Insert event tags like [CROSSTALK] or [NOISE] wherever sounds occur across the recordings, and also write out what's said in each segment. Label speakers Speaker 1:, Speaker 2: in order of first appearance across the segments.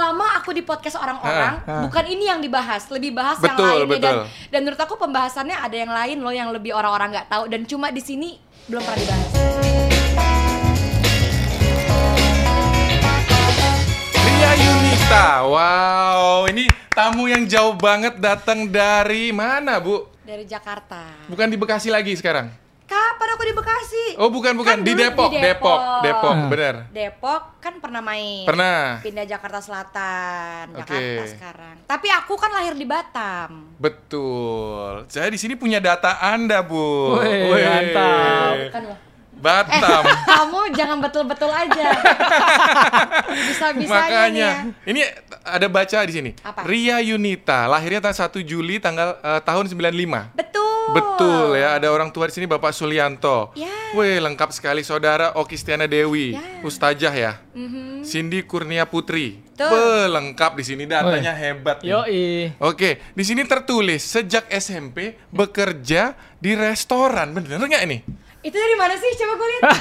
Speaker 1: aku di podcast orang-orang
Speaker 2: Ah, ah.
Speaker 1: bukan ini yang dibahas lebih bahas yang
Speaker 2: Betul,
Speaker 1: lain dan
Speaker 2: betul.
Speaker 1: dan menurut aku pembahasannya ada yang lain loh yang lebih orang-orang nggak tahu dan cuma di sini belum pernah dibahas
Speaker 2: Ria Yunita, wow, ini tamu yang jauh banget datang dari mana, Bu?
Speaker 1: dari Jakarta
Speaker 2: Bukan di Bekasi lagi sekarang?
Speaker 1: kapan aku di Bekasi
Speaker 2: Oh, bukan, bukan
Speaker 1: Kan
Speaker 2: di
Speaker 1: dulu di
Speaker 2: Depok, Depok,
Speaker 1: Depok.
Speaker 2: Depok,
Speaker 3: Ah.
Speaker 2: benar.
Speaker 1: Depok kan pernah main
Speaker 2: Pernah,
Speaker 1: pindah Jakarta Selatan
Speaker 2: Oke.
Speaker 1: Jakarta sekarang tapi aku kan lahir di Batam
Speaker 2: betul. Saya di sini punya data Anda, Bu.
Speaker 3: Wih,
Speaker 2: Wih.
Speaker 3: mantap.
Speaker 1: kan loh Eh,
Speaker 2: Batam.
Speaker 1: [LAUGHS] kamu jangan betul-betul
Speaker 2: [LAUGHS]
Speaker 1: aja. [LAUGHS] Bisa-bisanya
Speaker 2: Makanya
Speaker 1: nih ya.
Speaker 2: ini ada baca di sini.
Speaker 1: Apa?
Speaker 2: Ria Yunita, lahirnya tanggal 1 Juli tanggal eh, tahun 95.
Speaker 1: ya. Betul.
Speaker 2: Betul ya, ada orang tua di sini Bapak Sulianto.
Speaker 1: Oh. Ya.
Speaker 2: Weh, lengkap sekali saudara Oki Stiana Dewi,
Speaker 1: Ya.
Speaker 2: Mustajah ya.
Speaker 1: Mhm.
Speaker 2: Cindy Kurnia Putri.
Speaker 1: Betul.
Speaker 2: Weh, lengkap di sini datanya hebat nih.
Speaker 3: Yoi.
Speaker 2: Oke, di sini tertulis sejak SMP bekerja di restoran. Bener nggak ini?
Speaker 1: Itu dari mana sih? Coba gue lihat. Ah,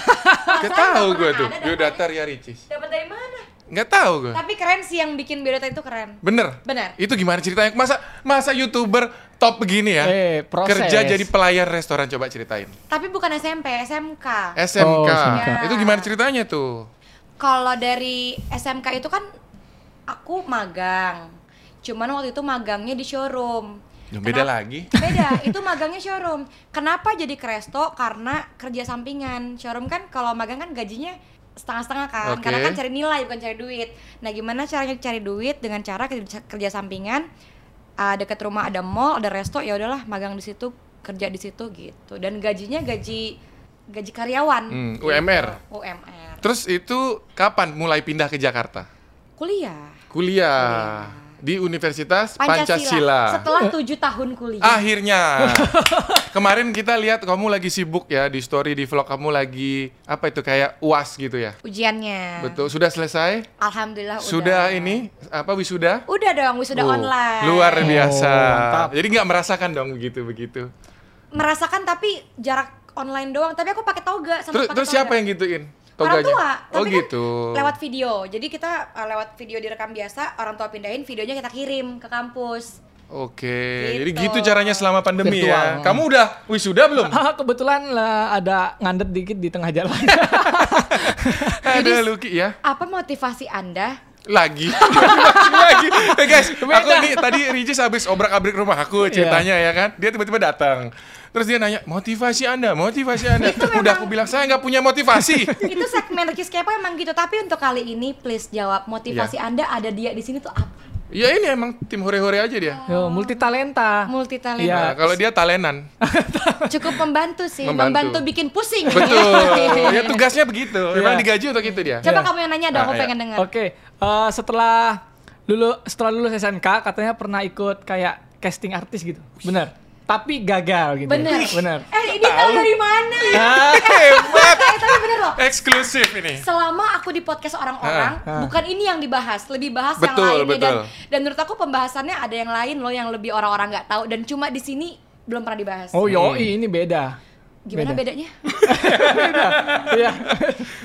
Speaker 2: Gak tahu gue tuh. Biodata Ria Ricis.
Speaker 1: Dapat dari mana?
Speaker 2: Nggak tahu gue.
Speaker 1: Tapi keren sih yang bikin biodata itu keren.
Speaker 2: Bener.
Speaker 1: Bener.
Speaker 2: Itu gimana ceritanya? Masa masa youtuber top begini ya?
Speaker 3: Eh, proses.
Speaker 2: Kerja jadi pelayan restoran coba ceritain.
Speaker 1: Tapi bukan SMP, SMK.
Speaker 2: SMK.
Speaker 3: Oh, SMK.
Speaker 2: Itu gimana ceritanya tuh?
Speaker 1: Kalau dari SMK itu kan aku magang. Cuman waktu itu magangnya di showroom.
Speaker 2: Ya, beda
Speaker 1: Kenapa-
Speaker 2: lagi.
Speaker 1: beda itu magangnya showroom kenapa jadi ke resto karena kerja sampingan showroom kan kalau magang kan gajinya setengah-setengah kan
Speaker 2: Oke.
Speaker 1: karena kan cari nilai bukan cari duit nah gimana caranya cari duit dengan cara kerja, kerja sampingan Ah, deket rumah ada mall ada resto ya udahlah magang di situ kerja di situ gitu dan gajinya gaji gaji karyawan
Speaker 2: Hmm,
Speaker 1: gitu.
Speaker 2: UMR.
Speaker 1: UMR
Speaker 2: Terus itu kapan mulai pindah ke Jakarta?
Speaker 1: kuliah
Speaker 2: Kuliah di Universitas Pancasila. Ah.
Speaker 1: setelah tujuh tahun kuliah [LAUGHS]
Speaker 2: Akhirnya. Kemarin kita lihat kamu lagi sibuk ya di story di vlog kamu lagi apa itu kayak UAS gitu ya.
Speaker 1: ujiannya
Speaker 2: Betul, sudah selesai?
Speaker 1: alhamdulillah
Speaker 2: Sudah
Speaker 1: Iya. Ya, udah.
Speaker 2: ini apa wisuda?
Speaker 1: Udah dong, wisuda
Speaker 2: Oh,
Speaker 1: online.
Speaker 2: Luar biasa.
Speaker 3: Oh, mantap.
Speaker 2: Jadi nggak merasakan dong begitu begitu.
Speaker 1: Merasakan tapi jarak online doang. Tapi aku pakai toga sama
Speaker 2: Terus
Speaker 1: pakai
Speaker 2: terus
Speaker 1: toga.
Speaker 2: siapa yang gituin?
Speaker 1: Orang
Speaker 2: Toganya?
Speaker 1: tua.
Speaker 2: Oh
Speaker 1: Tapi kan
Speaker 2: gitu.
Speaker 1: lewat video. Jadi kita uh, lewat video direkam biasa, orang tua pindahin, videonya kita kirim ke kampus.
Speaker 2: Oke.
Speaker 1: Gitu.
Speaker 2: Jadi gitu caranya selama pandemi ya.
Speaker 3: Virtual.
Speaker 2: Kamu udah wisuda belum?
Speaker 1: Iya.
Speaker 3: Ah, [LAUGHS] kebetulan lah ada ngandet dikit di tengah
Speaker 1: [LAUGHS]
Speaker 3: jalan.
Speaker 2: Ada Luki ya.
Speaker 1: Apa motivasi Anda?
Speaker 2: Lagi. [LAUGHS] Makin lagi. Eh, guys, aku
Speaker 3: Beda. Iya.
Speaker 2: nih tadi Rijis habis obrak-abrik rumah aku ceritanya ya kan. Dia tiba-tiba datang. Terus dia nanya, "Motivasi Anda, motivasi Anda." udah aku bilang, "Saya nggak punya
Speaker 3: [LAUGHS]
Speaker 2: motivasi."
Speaker 1: Itu segmen Ricky Kepo emang gitu. Tapi untuk kali ini please jawab motivasi
Speaker 2: Iya.
Speaker 1: Anda ada dia di sini tuh apa?
Speaker 2: ya ini emang tim hore-hore aja dia.
Speaker 3: Yo, multi talenta.
Speaker 1: Multi
Speaker 3: Iya.
Speaker 2: Nah, kalau dia talenan.
Speaker 1: Cukup membantu sih,
Speaker 2: Membantu.
Speaker 1: membantu, bikin pusing.
Speaker 2: Betul. ya tugasnya begitu. Memang
Speaker 3: Iya.
Speaker 2: digaji untuk itu dia.
Speaker 1: [LAUGHS] Coba
Speaker 3: Iya.
Speaker 1: kamu yang nanya dong,
Speaker 2: Ah,
Speaker 1: aku
Speaker 2: iya.
Speaker 1: pengen dengar.
Speaker 3: Oke, eh, setelah lulu setelah lulus SMK katanya pernah ikut kayak casting artis gitu. Bener. Tapi gagal gitu.
Speaker 1: Bener. [LAUGHS] Iya.
Speaker 3: Bener. Ah.
Speaker 1: Eh, ini tahu dari mana?
Speaker 2: Hebat.
Speaker 1: Eh, tapi bener loh.
Speaker 2: Eksklusif ini.
Speaker 1: Selama aku di podcast orang-orang,
Speaker 3: Ah, ah.
Speaker 1: bukan ini yang dibahas, lebih bahas yang
Speaker 2: Betul,
Speaker 1: lain ya. dan
Speaker 2: betul.
Speaker 1: dan menurut aku pembahasannya ada yang lain loh yang lebih orang-orang nggak tahu dan cuma di sini belum pernah dibahas.
Speaker 3: Oh yoi ini
Speaker 1: [LAUGHS]
Speaker 3: beda.
Speaker 1: Gimana
Speaker 3: beda?
Speaker 1: bedanya?
Speaker 3: Iya.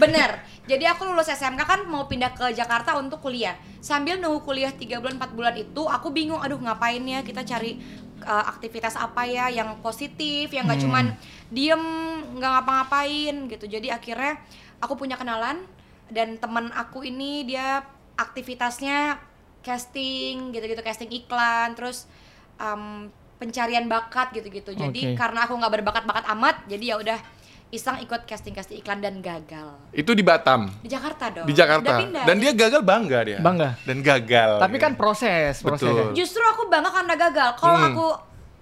Speaker 1: Bener. Jadi aku lulus SMK kan mau pindah ke Jakarta untuk kuliah. Sambil nunggu kuliah 3 bulan 4 bulan itu aku bingung aduh ngapain ya kita cari uh, aktivitas apa ya yang positif, yang nggak cuman diem nggak ngapa-ngapain gitu. Jadi akhirnya aku punya kenalan dan temen aku ini dia aktivitasnya casting gitu-gitu casting iklan terus um, pencarian bakat gitu-gitu. Jadi
Speaker 3: Oke.
Speaker 1: karena aku nggak berbakat-bakat amat jadi ya udah iseng ikut casting-casting iklan dan gagal.
Speaker 2: Itu di Batam,
Speaker 1: Di Jakarta dong.
Speaker 3: Oh.
Speaker 2: di Jakarta.
Speaker 1: Udah pindah.
Speaker 2: Dan dia gagal bangga dia.
Speaker 3: ya? Bangga.
Speaker 2: Dan gagal.
Speaker 3: Tapi
Speaker 2: Gitu.
Speaker 3: kan proses, proses.
Speaker 2: Betul.
Speaker 1: justru aku bangga karena gagal. Kalau
Speaker 2: Hmm.
Speaker 1: aku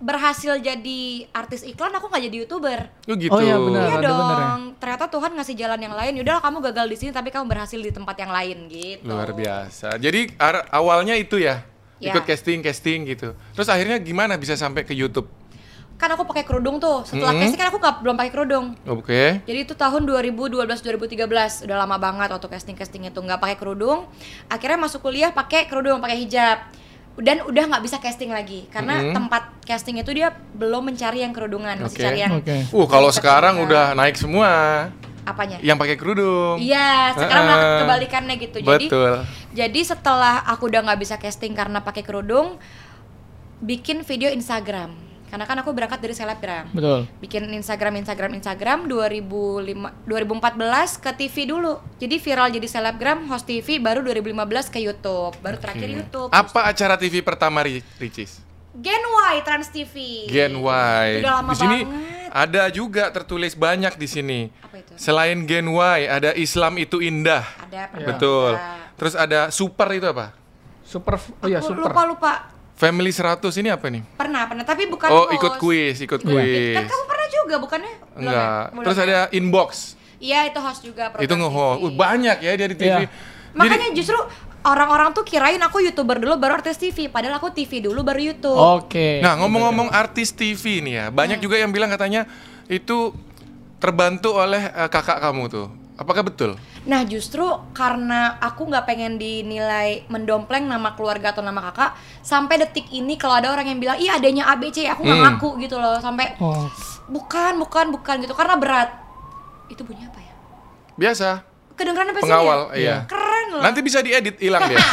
Speaker 1: berhasil jadi artis iklan, aku nggak jadi youtuber.
Speaker 2: Oh gitu.
Speaker 3: Oh, iya, benar.
Speaker 1: Iya
Speaker 3: ada
Speaker 1: dong.
Speaker 3: bener ya.
Speaker 1: Ternyata Tuhan ngasih jalan yang lain. Yaudah kamu gagal di sini, tapi kamu berhasil di tempat yang lain gitu.
Speaker 2: Luar biasa. Jadi ar- awalnya itu ya.
Speaker 1: Ya.
Speaker 2: Ikut casting, casting gitu. Terus akhirnya gimana bisa sampai ke YouTube?
Speaker 1: Kan aku pakai kerudung tuh. Setelah
Speaker 2: Mm-mm.
Speaker 1: casting kan aku nggak belum pakai kerudung.
Speaker 2: Oke.
Speaker 1: Jadi itu tahun 2012-2013 udah lama banget waktu casting-casting itu nggak pakai kerudung. Akhirnya masuk kuliah pakai kerudung, pakai hijab. Dan udah nggak bisa casting lagi karena
Speaker 2: Mm-mm.
Speaker 1: tempat casting itu dia belum mencari yang kerudungan, masih
Speaker 2: Oke.
Speaker 1: cari yang
Speaker 3: Oke.
Speaker 2: Uh, kalau
Speaker 1: Kita
Speaker 2: sekarang
Speaker 1: tinggal.
Speaker 2: udah naik semua
Speaker 1: apanya?
Speaker 2: yang pakai kerudung.
Speaker 1: Iya, sekarang
Speaker 2: Heeh.
Speaker 1: malah kebalikannya gitu. Jadi
Speaker 2: Betul.
Speaker 1: Jadi setelah aku udah nggak bisa casting karena pakai kerudung, bikin video Instagram. Karena kan aku berangkat dari selebgram.
Speaker 3: Betul.
Speaker 1: Bikin Instagram, Instagram, Instagram 2005, 2014 ke TV dulu. Jadi viral jadi selebgram, host TV baru 2015 ke YouTube. Baru terakhir YouTube.
Speaker 2: Apa acara TV pertama Ri- Ricis?
Speaker 1: Gen Y Trans TV.
Speaker 2: Gen Y.
Speaker 1: Udah lama
Speaker 2: di sini
Speaker 1: banget.
Speaker 2: ada juga tertulis banyak di sini.
Speaker 1: Apa itu?
Speaker 2: Selain Gen Y ada Islam itu indah.
Speaker 1: Ada apa?
Speaker 2: Iya. Betul.
Speaker 1: Ada.
Speaker 2: Terus ada Super itu apa?
Speaker 3: Super oh ya
Speaker 1: Aku
Speaker 3: super.
Speaker 1: lupa lupa
Speaker 2: Family 100 ini apa nih?
Speaker 1: pernah pernah tapi bukan
Speaker 2: oh,
Speaker 1: host.
Speaker 2: ikut kuis,
Speaker 1: Ikut
Speaker 2: ikut
Speaker 1: kuis.
Speaker 2: kuis.
Speaker 1: Kan kamu pernah juga bukannya? Belum ya?
Speaker 2: Enggak.
Speaker 1: Belum
Speaker 2: Terus
Speaker 1: ya?
Speaker 2: ada inbox.
Speaker 1: Iya itu host juga program
Speaker 2: Itu nge-host.
Speaker 1: TV.
Speaker 2: Uh, banyak ya dia di TV.
Speaker 3: Iya.
Speaker 2: Jadi-
Speaker 1: Makanya justru orang-orang tuh kirain aku youtuber dulu baru artis TV Padahal aku TV dulu baru YouTube
Speaker 3: Oh, Oke.
Speaker 2: Nah, ngomong-ngomong artis TV nih ya,
Speaker 1: Iya.
Speaker 2: banyak juga yang bilang katanya itu terbantu oleh eh, kakak kamu tuh. Apakah betul?
Speaker 1: Nah justru karena aku nggak pengen dinilai mendompleng nama keluarga atau nama kakak Sampai detik ini kalau ada orang yang bilang Iya adanya ABC aku nggak
Speaker 2: Hmm.
Speaker 1: ngaku gitu loh Sampai
Speaker 3: Oh.
Speaker 1: bukan bukan bukan gitu karena berat Itu bunyi apa ya?
Speaker 2: Biasa.
Speaker 1: Kedengeran apa sih?
Speaker 2: Pengawal,
Speaker 1: ya?
Speaker 2: iya.
Speaker 1: Keren loh
Speaker 2: Nanti bisa diedit hilang dia.
Speaker 1: [LAUGHS]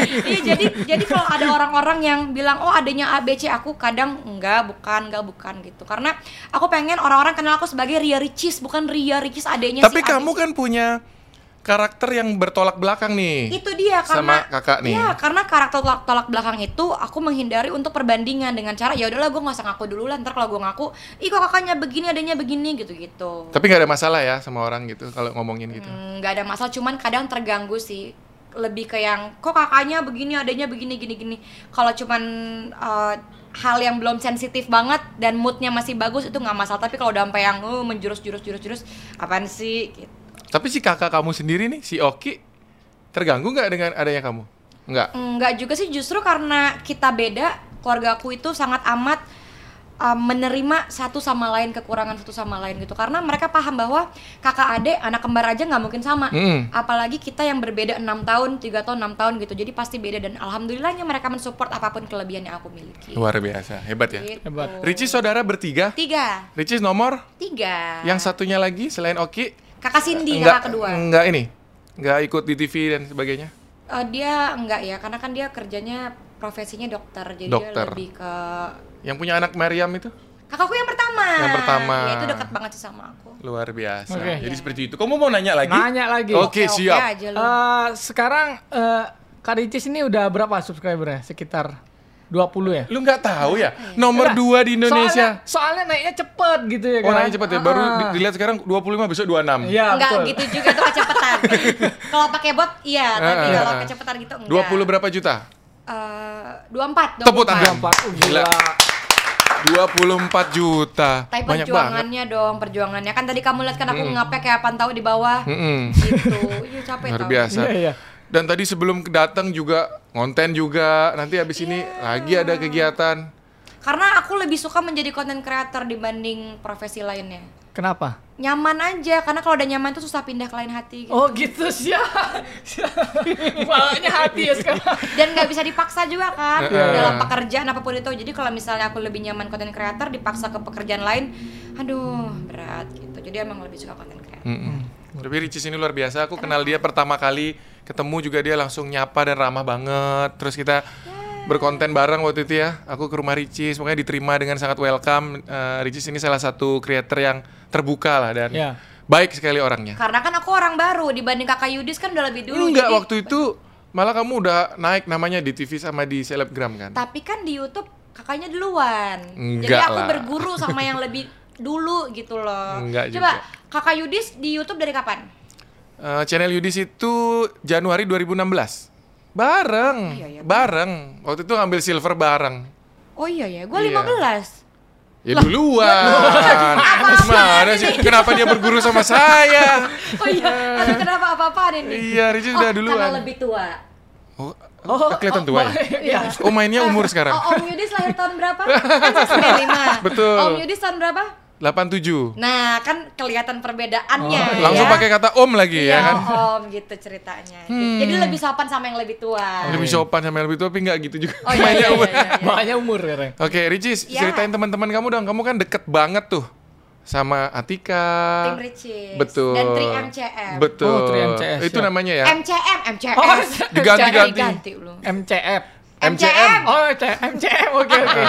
Speaker 1: Iya jadi jadi kalau ada orang-orang yang bilang oh adanya ABC aku kadang enggak bukan enggak bukan gitu karena aku pengen orang-orang kenal aku sebagai Ria Ricis bukan Ria Ricis adanya
Speaker 2: Tapi
Speaker 1: si
Speaker 2: kamu
Speaker 1: ABC.
Speaker 2: kan punya karakter yang bertolak belakang nih.
Speaker 1: itu dia
Speaker 2: Sama
Speaker 1: karena
Speaker 2: kakak nih.
Speaker 1: Iya, karena karakter tolak, tolak belakang itu aku menghindari untuk perbandingan dengan cara ya udahlah gue nggak usah ngaku dulu lah ntar kalau gue ngaku ih kok kakaknya begini adanya begini gitu gitu
Speaker 2: Tapi nggak ada masalah ya sama orang gitu kalau ngomongin gitu.
Speaker 1: Hmm, nggak ada masalah cuman kadang terganggu sih lebih ke yang kok kakaknya begini adanya begini gini gini kalau cuman eh, hal yang belum sensitif banget dan moodnya masih bagus itu nggak masalah tapi kalau udah sampai yang "Eh, menjurus jurus jurus jurus apaan sih gitu.
Speaker 2: Tapi si kakak kamu sendiri nih, si Oki, terganggu nggak dengan adanya kamu? Nggak.
Speaker 1: nggak juga sih justru karena kita beda keluarga aku itu sangat amat uh, menerima satu sama lain kekurangan satu sama lain gitu karena mereka paham bahwa kakak adik anak kembar aja nggak mungkin sama
Speaker 2: Mm.
Speaker 1: apalagi kita yang berbeda enam tahun tiga tahun enam tahun gitu jadi pasti beda dan alhamdulillahnya mereka mensupport apapun kelebihan yang aku miliki
Speaker 2: Luar biasa, hebat ya.
Speaker 1: Gitu.
Speaker 3: Hebat.
Speaker 2: Ricis saudara bertiga.
Speaker 1: tiga
Speaker 2: Ricis nomor
Speaker 1: tiga
Speaker 2: yang mm. satunya lagi selain Oki
Speaker 1: kakak Cindy
Speaker 2: nggak-
Speaker 1: Nah. kakak kedua
Speaker 2: nggak ini nggak ikut di TV dan sebagainya
Speaker 1: Eh, dia enggak ya karena kan dia kerjanya profesinya dokter jadi dia
Speaker 2: Dokter.
Speaker 1: lebih ke
Speaker 2: yang punya anak Mariam itu
Speaker 1: kakakku yang pertama
Speaker 2: Yang pertama.
Speaker 1: ya itu dekat banget sih sama aku
Speaker 2: luar biasa
Speaker 3: Oke.
Speaker 2: jadi seperti itu kamu mau nanya lagi
Speaker 3: Nanya lagi.
Speaker 2: Oke. siap.
Speaker 1: aja lu.
Speaker 3: Eh, sekarang eh Kak Ricis ini udah berapa subscribernya? Sekitar 20 ya? Iya.
Speaker 2: lu nggak tahu ya nomor dua di Indonesia
Speaker 3: Soalnya, soalnya naiknya cepet gitu ya kan.
Speaker 2: oh nanya cepat ya baru
Speaker 3: Ah.
Speaker 2: di- dilihat sekarang 25 besok 26
Speaker 3: Iya,
Speaker 1: enggak
Speaker 3: betul.
Speaker 1: gitu juga tuh
Speaker 2: [LAUGHS]
Speaker 1: kecepetan. kalau pakai bot iya, tapi
Speaker 2: Ah,
Speaker 1: kalau
Speaker 2: ah, ah.
Speaker 1: kecepetan gitu enggak.
Speaker 2: 20 berapa juta?
Speaker 1: Eh, 24, 24.
Speaker 2: Tepuk tangan.
Speaker 3: Gampang. Uh,
Speaker 2: Gila.
Speaker 3: gila.
Speaker 2: 24 juta.
Speaker 1: Tapi
Speaker 2: Banyak banget.
Speaker 1: perjuangannya dong, perjuangannya. Kan tadi kamu lihat kan aku ngapek kayak apaan tahu di bawah.
Speaker 2: Mm-mm. [LAUGHS]
Speaker 1: Gitu. Iya capek
Speaker 2: Luar
Speaker 1: tau.
Speaker 2: biasa.
Speaker 3: Iya, iya.
Speaker 2: Dan tadi sebelum datang juga ngonten juga. Nanti habis ini
Speaker 1: Iya.
Speaker 2: lagi ada kegiatan.
Speaker 1: Karena aku lebih suka menjadi content creator dibanding profesi lainnya.
Speaker 3: Kenapa?
Speaker 1: Nyaman aja, karena kalau udah nyaman tuh susah pindah ke lain hati gitu.
Speaker 3: Oh gitu sih. [LAUGHS] Balanya hati ya sekarang.
Speaker 1: Dan nggak bisa dipaksa juga kan
Speaker 2: Heeh.
Speaker 1: dalam pekerjaan apapun itu. Jadi kalau misalnya aku lebih nyaman content creator dipaksa ke pekerjaan lain, aduh berat gitu. Jadi emang lebih suka content creator.
Speaker 2: Hmm. Tapi Ricis ini luar biasa. Aku kenal dia pertama kali ketemu juga dia langsung nyapa dan ramah banget. Terus kita berkonten bareng waktu itu ya. Aku ke rumah Ricis, makanya diterima dengan sangat welcome. Eh, Ricis ini salah satu creator yang terbuka lah dan
Speaker 3: Ya.
Speaker 2: baik sekali orangnya.
Speaker 1: Karena kan aku orang baru dibanding kakak Yudis kan udah lebih dulu.
Speaker 2: Enggak
Speaker 1: jadi-
Speaker 2: waktu itu malah kamu udah naik namanya di TV sama di selebgram kan?
Speaker 1: Tapi kan di YouTube kakaknya duluan. jadi
Speaker 2: Enggak
Speaker 1: aku
Speaker 2: lah.
Speaker 1: berguru sama yang lebih dulu gitu loh.
Speaker 2: Enggak
Speaker 1: Coba
Speaker 2: juga.
Speaker 1: kakak Yudis di YouTube dari kapan?
Speaker 2: Eh, channel Yudis itu Januari 2016. Bareng,
Speaker 1: Iya, iya.
Speaker 2: bareng. Waktu itu ngambil silver bareng.
Speaker 1: Oh iya ya, gue
Speaker 2: Iya.
Speaker 1: 15.
Speaker 2: Ya duluan. Gimana sih? Kenapa dia berguru sama saya?
Speaker 1: Oh iya, [LAUGHS] aduh kenapa apa-apaan ini?
Speaker 2: Iya, Ricis udah duluan.
Speaker 1: Karena lebih tua.
Speaker 2: Oh, oh, kelihatan tua ya?
Speaker 3: Iya.
Speaker 2: Oh, mainnya umur sekarang.
Speaker 1: Oh, Om Yudis lahir tahun berapa? Kan saya 95.
Speaker 2: Betul.
Speaker 1: Om Yudis tahun berapa?
Speaker 2: 87.
Speaker 1: Nah, kan kelihatan perbedaannya ya.
Speaker 2: Oh, Langsung pakai kata om lagi ya
Speaker 1: Iya,
Speaker 2: kan?
Speaker 1: Om gitu ceritanya. Jadi lebih sopan sama yang lebih tua.
Speaker 2: Lebih sopan sama yang lebih tua, tapi nggak gitu juga.
Speaker 1: iya. Oh iya, iya, iya, iya, iya.
Speaker 3: Balanya umur sekarang.
Speaker 2: Oke, Ricis,
Speaker 1: Iya.
Speaker 2: ceritain teman-teman kamu dong. Kamu kan deket banget tuh sama Atika.
Speaker 1: Tim Ricis
Speaker 2: Betul.
Speaker 1: dan 3MCM.
Speaker 2: Betul.
Speaker 3: Oh, 3MCS,
Speaker 2: Itu
Speaker 3: ya.
Speaker 2: namanya ya.
Speaker 1: MCM, MCS.
Speaker 3: Oh,
Speaker 2: diganti-ganti.
Speaker 1: Jangan diganti belum.
Speaker 3: MCF.
Speaker 1: MCM.
Speaker 3: Oh, C- MCM. Oke,
Speaker 2: Ah.
Speaker 3: oke.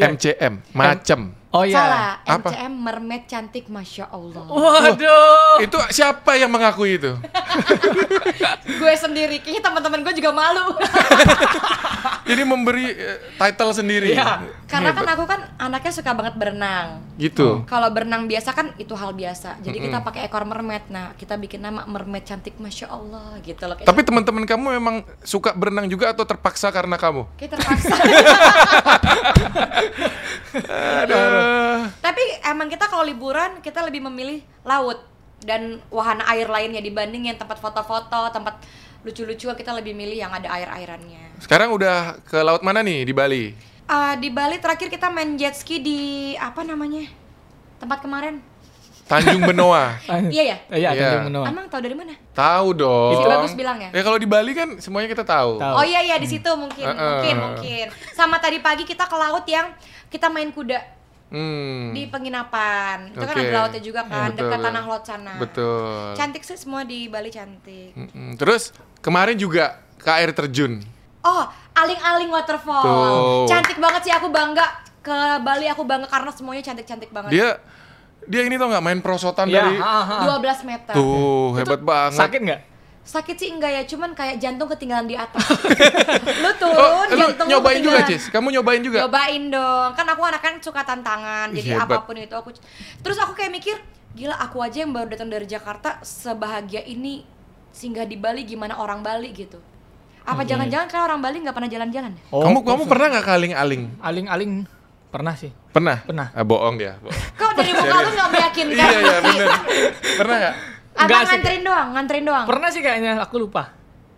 Speaker 3: Ya.
Speaker 2: MCM, macem.
Speaker 3: Oh iya.
Speaker 1: Salah,
Speaker 2: Apa?
Speaker 1: MCM mermaid cantik masya
Speaker 3: Oh.
Speaker 1: Allah.
Speaker 3: Waduh.
Speaker 2: Itu siapa yang mengakui
Speaker 1: [LAUGHS]
Speaker 2: itu?
Speaker 1: gue sendiri, kayaknya teman-teman gue juga malu.
Speaker 2: Jadi memberi eh, title sendiri.
Speaker 3: Iya.
Speaker 1: Karena kan
Speaker 2: Hebat.
Speaker 1: aku kan anaknya suka banget berenang.
Speaker 2: gitu.
Speaker 1: Kalau berenang biasa kan itu hal biasa. Jadi kita pakai ekor mermaid. Nah, kita bikin nama mermaid cantik masya Allah gitu loh.
Speaker 2: Tapi teman-teman kamu memang suka berenang juga atau terpaksa karena kamu?
Speaker 1: Kayak
Speaker 2: [LAUGHS]
Speaker 1: terpaksa.
Speaker 2: Aduh.
Speaker 1: Tapi emang kita kalau liburan kita lebih memilih laut dan wahana air lainnya dibanding yang tempat foto-foto, tempat lucu-lucuan kita lebih milih yang ada air-airannya.
Speaker 2: Sekarang udah ke laut mana nih di Bali?
Speaker 1: Eh, di Bali terakhir kita main jet ski di apa namanya? Tempat kemarin.
Speaker 2: Tanjung Benoa.
Speaker 1: Iya ya?
Speaker 3: Iya,
Speaker 2: Iya.
Speaker 3: Tanjung Benoa.
Speaker 1: Emang tahu dari mana?
Speaker 2: Tahu dong.
Speaker 1: Itu bagus bilang ya?
Speaker 2: Ya kalau di Bali kan semuanya kita tahu.
Speaker 3: Tahu.
Speaker 1: Oh iya iya di situ mungkin
Speaker 2: Eh, eh.
Speaker 1: mungkin mungkin. Sama tadi pagi kita ke laut yang kita main kuda
Speaker 2: Hmm.
Speaker 1: di penginapan. Itu kan
Speaker 2: Oke. Hmm,
Speaker 1: ada lautnya juga kan dekat
Speaker 2: Betul, betul.
Speaker 1: tanah laut sana.
Speaker 2: Betul.
Speaker 1: Cantik sih semua di Bali cantik.
Speaker 2: Mm-mm. Terus kemarin juga ke air terjun.
Speaker 1: Oh, aling-aling waterfall.
Speaker 2: Tuh.
Speaker 1: Cantik banget sih aku bangga ke Bali aku bangga karena semuanya cantik-cantik banget.
Speaker 2: Dia dia ini tau nggak main perosotan
Speaker 3: Iya,
Speaker 2: dari
Speaker 3: ha, ha.
Speaker 1: 12 meter.
Speaker 2: tuh hebat banget.
Speaker 3: Sakit nggak?
Speaker 1: Sakit sih enggak ya, cuman kayak jantung ketinggalan di
Speaker 2: [LAUGHS]
Speaker 1: atas. lu turun,
Speaker 2: Oh, lu
Speaker 1: jantung lu
Speaker 2: nyobain juga,
Speaker 1: ketinggalan.
Speaker 2: Cis. Kamu nyobain juga?
Speaker 1: Cobain dong, kan aku anak kan suka tantangan,
Speaker 2: Ih,
Speaker 1: jadi
Speaker 2: hebat.
Speaker 1: apapun itu aku. Terus aku kayak mikir, gila aku aja yang baru datang dari Jakarta sebahagia ini singgah di Bali gimana orang Bali gitu. Apa
Speaker 2: Mhm.
Speaker 1: jangan-jangan karena orang Bali nggak pernah jalan-jalan? ya?
Speaker 3: Oh,
Speaker 2: kamu kamu pernah nggak kaling-aling?
Speaker 3: aling-aling pernah sih.
Speaker 2: Pernah?
Speaker 3: Pernah.
Speaker 2: Ah, bohong dia. bohong.
Speaker 1: Kok dari muka lu nggak meyakinkan?
Speaker 2: iya iya bener. Pernah nggak?
Speaker 1: Abang
Speaker 3: Nggak sih.
Speaker 1: nganterin doang, nganterin doang.
Speaker 3: Pernah sih kayaknya, aku lupa.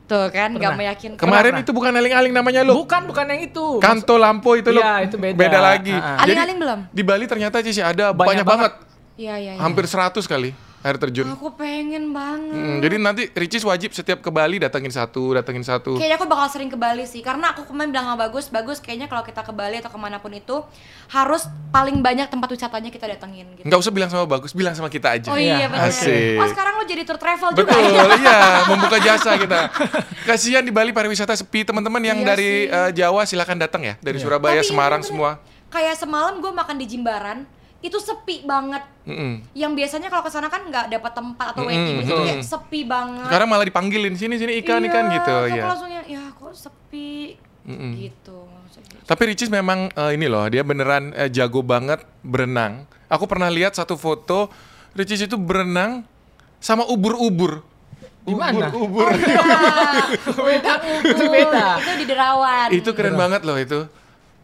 Speaker 1: Tuh kan nggak
Speaker 3: Pernah.
Speaker 1: meyakinkan.
Speaker 2: Kemarin
Speaker 3: Pernah.
Speaker 2: itu bukan aling-aling namanya lu. Kan.
Speaker 3: Bukan, bukan yang itu. Maksud-
Speaker 2: Kanto Lampo itu lu.
Speaker 3: Iya, itu beda.
Speaker 2: lagi.
Speaker 3: Ah,
Speaker 1: ah.
Speaker 2: Jadi,
Speaker 1: Aling-aling belum?
Speaker 2: Di Bali ternyata Cis ya, ada banyak,
Speaker 3: Banyak
Speaker 2: banget.
Speaker 3: banget.
Speaker 1: Iya iya. iya.
Speaker 2: Hampir 100 kali air terjun.
Speaker 1: Aku pengen banget.
Speaker 2: Mm, jadi nanti Ricis wajib setiap ke Bali datengin satu, datengin satu.
Speaker 1: Kayaknya aku bakal sering ke Bali sih, karena aku kemarin bilang sama Bagus, Bagus kayaknya kalau kita ke Bali atau kemanapun itu harus paling banyak tempat wisatanya kita datengin gitu.
Speaker 2: Nggak usah bilang sama bagus, bilang sama kita aja.
Speaker 1: Oh iya
Speaker 3: Iya,
Speaker 1: benar.
Speaker 2: asik.
Speaker 1: Oh sekarang lo jadi tour travel juga
Speaker 2: Betul,
Speaker 1: ya?
Speaker 2: iya, membuka jasa kita. Kasihan di Bali pariwisata sepi, teman-teman yang
Speaker 1: Iya
Speaker 2: dari
Speaker 1: sih.
Speaker 2: eh, Jawa silahkan datang ya, dari
Speaker 1: Tapi iya,
Speaker 2: Surabaya, Semarang
Speaker 1: bener.
Speaker 2: semua.
Speaker 1: Kayak semalam gue makan di Jimbaran, itu sepi banget.
Speaker 2: Mm-mm.
Speaker 1: Yang biasanya kalau ke sana kan nggak dapat tempat atau
Speaker 2: Mm-mm,
Speaker 1: waiting list itu
Speaker 2: mm-mm.
Speaker 1: kayak sepi banget.
Speaker 2: Sekarang malah dipanggilin sini sini ikan ikan
Speaker 1: Iya,
Speaker 2: gitu,
Speaker 1: terus
Speaker 2: ya.
Speaker 1: Aku langsung yang, ya kok sepi
Speaker 2: Mm-mm.
Speaker 1: gitu. maksudnya.
Speaker 2: Tapi Ricis memang eh, ini loh, dia beneran eh, jago banget berenang. Aku pernah lihat satu foto Ricis itu berenang sama ubur-ubur.
Speaker 3: Di mana?
Speaker 1: Oh,
Speaker 2: Ubur-ubur.
Speaker 1: iya. Ah, beda,
Speaker 3: [LAUGHS] Itu beda.
Speaker 1: Itu di derawan.
Speaker 2: itu keren banget loh itu.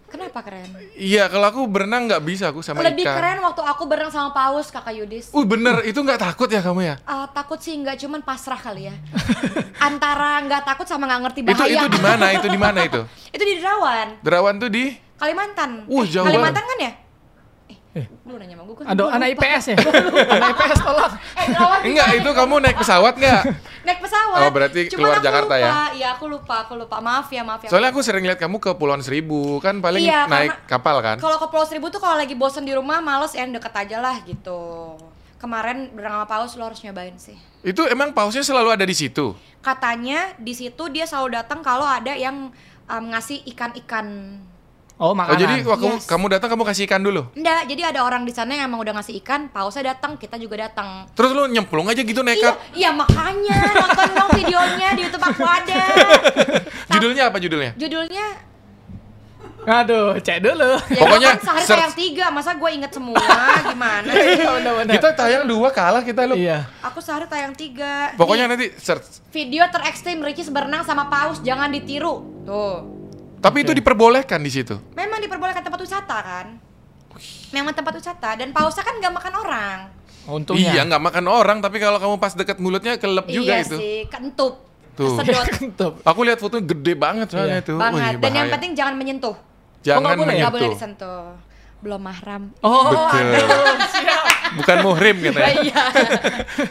Speaker 1: Kenapa keren?
Speaker 2: Iya, kalau aku berenang nggak bisa aku sama
Speaker 1: Lebih
Speaker 2: ikan.
Speaker 1: keren waktu aku bareng sama Paus kakak Yudis.
Speaker 2: Uh bener, itu nggak takut ya kamu ya?
Speaker 1: Ah, takut sih nggak cuman pasrah
Speaker 2: [LAUGHS]
Speaker 1: kali ya. Antara nggak takut sama nggak ngerti
Speaker 2: Itu
Speaker 1: bahaya.
Speaker 2: itu di mana? Itu di mana itu?
Speaker 1: [LAUGHS] Itu di Derawan,
Speaker 2: Derawan tuh di
Speaker 1: Kalimantan.
Speaker 2: Wah, jauh
Speaker 1: Kalimantan kan ya? Eh,
Speaker 3: Eh.
Speaker 1: lu nanya sama gue kan.
Speaker 3: Ada
Speaker 1: Gua
Speaker 3: anak
Speaker 1: lupa.
Speaker 3: IPS
Speaker 1: [LAUGHS]
Speaker 3: ya? anak IPS tolong.
Speaker 1: Eh,
Speaker 2: [LAUGHS]
Speaker 1: Derawan di
Speaker 2: Enggak,
Speaker 1: mana?
Speaker 2: itu kamu naik pesawat
Speaker 1: [LAUGHS]
Speaker 2: nggak?
Speaker 1: naik pesawat.
Speaker 2: Oh, berarti
Speaker 1: Cuman
Speaker 2: keluar
Speaker 1: aku
Speaker 2: Jakarta
Speaker 1: lupa.
Speaker 2: ya?
Speaker 1: Iya, aku lupa, aku lupa. Maaf ya, maaf ya.
Speaker 2: Soalnya aku sering lihat kamu ke Pulauan Seribu, kan paling
Speaker 1: Iya, karena-
Speaker 2: naik kapal kan?
Speaker 1: Kalau ke Pulau Seribu tuh kalau lagi bosen di rumah, males ya deket aja lah gitu. Kemarin bareng sama Paus lo harus nyobain sih.
Speaker 2: Itu emang pausnya selalu ada di situ.
Speaker 1: katanya di situ dia selalu datang kalau ada yang um, ngasih ikan-ikan.
Speaker 3: Oh,
Speaker 2: Oh,
Speaker 3: makanan.
Speaker 2: jadi waktu
Speaker 1: Yes.
Speaker 2: kamu datang kamu kasih ikan dulu.
Speaker 1: Enggak, jadi ada orang di sana yang emang udah ngasih ikan, pausnya datang, kita juga datang.
Speaker 2: Terus lu nyemplung aja gitu
Speaker 1: Iya,
Speaker 2: nekat.
Speaker 1: iya makanya nonton dong videonya di YouTube aku ada.
Speaker 2: Judulnya apa judulnya?
Speaker 1: Judulnya
Speaker 3: Aduh, cek dulu.
Speaker 1: ya
Speaker 2: Pokoknya
Speaker 1: kan sehari
Speaker 2: search-
Speaker 1: tayang tiga, masa gue inget semua gimana?
Speaker 3: [LAUGHS] Iya, benar-benar.
Speaker 2: Kita tayang dua kalah kita lu.
Speaker 3: Iya.
Speaker 1: Aku sehari tayang tiga.
Speaker 2: Pokoknya
Speaker 1: Nih,
Speaker 2: nanti search.
Speaker 1: video terekstrim Ricis berenang sama paus jangan ditiru. Tuh.
Speaker 2: Tapi itu diperbolehkan di situ.
Speaker 1: Memang diperbolehkan tempat wisata kan? Memang tempat wisata dan pausnya kan nggak makan orang.
Speaker 3: Untungnya. [LAUGHS]
Speaker 2: Iya, nggak makan orang, tapi kalau kamu pas dekat mulutnya kelep juga
Speaker 1: iya
Speaker 2: itu.
Speaker 1: sih, kentup.
Speaker 2: Tuh. [LAUGHS]
Speaker 1: Kesedot
Speaker 3: Kentut.
Speaker 2: Aku lihat fotonya gede banget soalnya
Speaker 3: Iya.
Speaker 2: itu.
Speaker 1: banget. Dan yang
Speaker 2: Wih, bahaya. Iya,
Speaker 1: penting jangan menyentuh.
Speaker 2: jangan
Speaker 3: nggak boleh ya?
Speaker 1: Nggak boleh
Speaker 2: menyentuh.
Speaker 1: disentuh. Belum mahram.
Speaker 3: Oh,
Speaker 2: Betul.
Speaker 3: aduh, siap.
Speaker 2: Bukan muhrim katanya.
Speaker 1: [LAUGHS] Iya.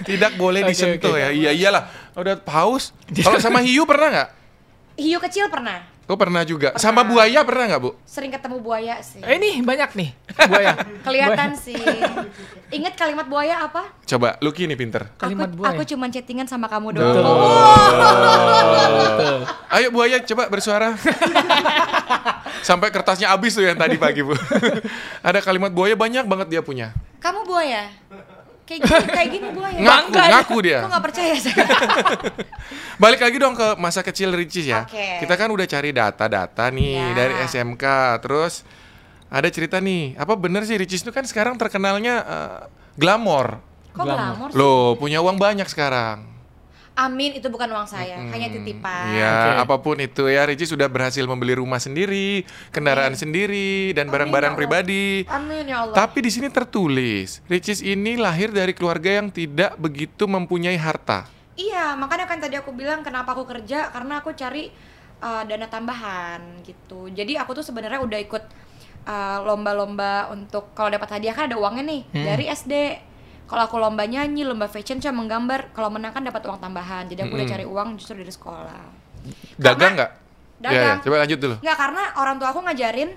Speaker 2: Tidak boleh
Speaker 3: Oke,
Speaker 2: disentuh
Speaker 1: [LAUGHS]
Speaker 3: oke.
Speaker 2: ya. Iya iyalah. Udah paus. Kalau sama hiu pernah nggak?
Speaker 1: Hiu kecil pernah.
Speaker 2: Oh pernah juga. Sama buaya pernah nggak bu?
Speaker 1: Sering ketemu buaya sih.
Speaker 3: Eh ini banyak nih buaya.
Speaker 2: ya?
Speaker 1: Kelihatan
Speaker 3: Buaya.
Speaker 1: sih. Ingat kalimat buaya apa?
Speaker 2: Coba Lucky ini pinter.
Speaker 3: Kalimat
Speaker 1: aku,
Speaker 3: buaya.
Speaker 1: Aku cuman chattingan sama kamu
Speaker 3: Tuh.
Speaker 1: doang.
Speaker 3: Tuh.
Speaker 2: Ayo buaya coba bersuara. Sampai kertasnya habis tuh yang tadi pagi bu. Ada kalimat buaya banyak banget dia punya.
Speaker 1: [LAUGHS] Kamu buaya? Kayak gini, kayak gini buaya.
Speaker 2: Ngaku,
Speaker 3: Bangga ya. dia.
Speaker 2: ngaku dia.
Speaker 1: Kok nggak percaya sih?
Speaker 3: [LAUGHS]
Speaker 2: Balik lagi dong ke masa kecil Ricis ya.
Speaker 1: Oke.
Speaker 2: Kita kan udah cari data-data nih
Speaker 1: Ya.
Speaker 2: dari SMK. Terus ada cerita nih. Apa bener sih Ricis itu kan sekarang terkenalnya eh, glamor.
Speaker 1: Kok glamor sih?
Speaker 2: Loh punya uang banyak sekarang.
Speaker 1: Amin itu bukan uang saya, hanya titipan.
Speaker 2: Ya,
Speaker 3: Oke.
Speaker 2: apapun itu ya, Ricis sudah berhasil membeli rumah sendiri, kendaraan sendiri,
Speaker 1: Iya.
Speaker 2: dan
Speaker 1: Amin,
Speaker 2: barang-barang
Speaker 1: ya Allah.
Speaker 2: pribadi.
Speaker 1: Amin ya Allah.
Speaker 2: Tapi di sini tertulis, Ricis ini lahir dari keluarga yang tidak begitu mempunyai harta.
Speaker 1: Iya, makanya kan tadi aku bilang kenapa aku kerja karena aku cari uh, dana tambahan gitu. Jadi aku tuh sebenarnya udah ikut uh, lomba-lomba untuk kalau dapat hadiah kan ada uangnya nih dari SD. Kalau aku lomba nyanyi, lomba fashion cuma menggambar, kalau menang kan dapat uang tambahan. Jadi aku udah cari uang justru dari sekolah.
Speaker 2: Dagang nggak? Ya, ya,
Speaker 1: Dagang.
Speaker 2: coba lanjut dulu.
Speaker 1: Nggak, karena orang tua aku ngajarin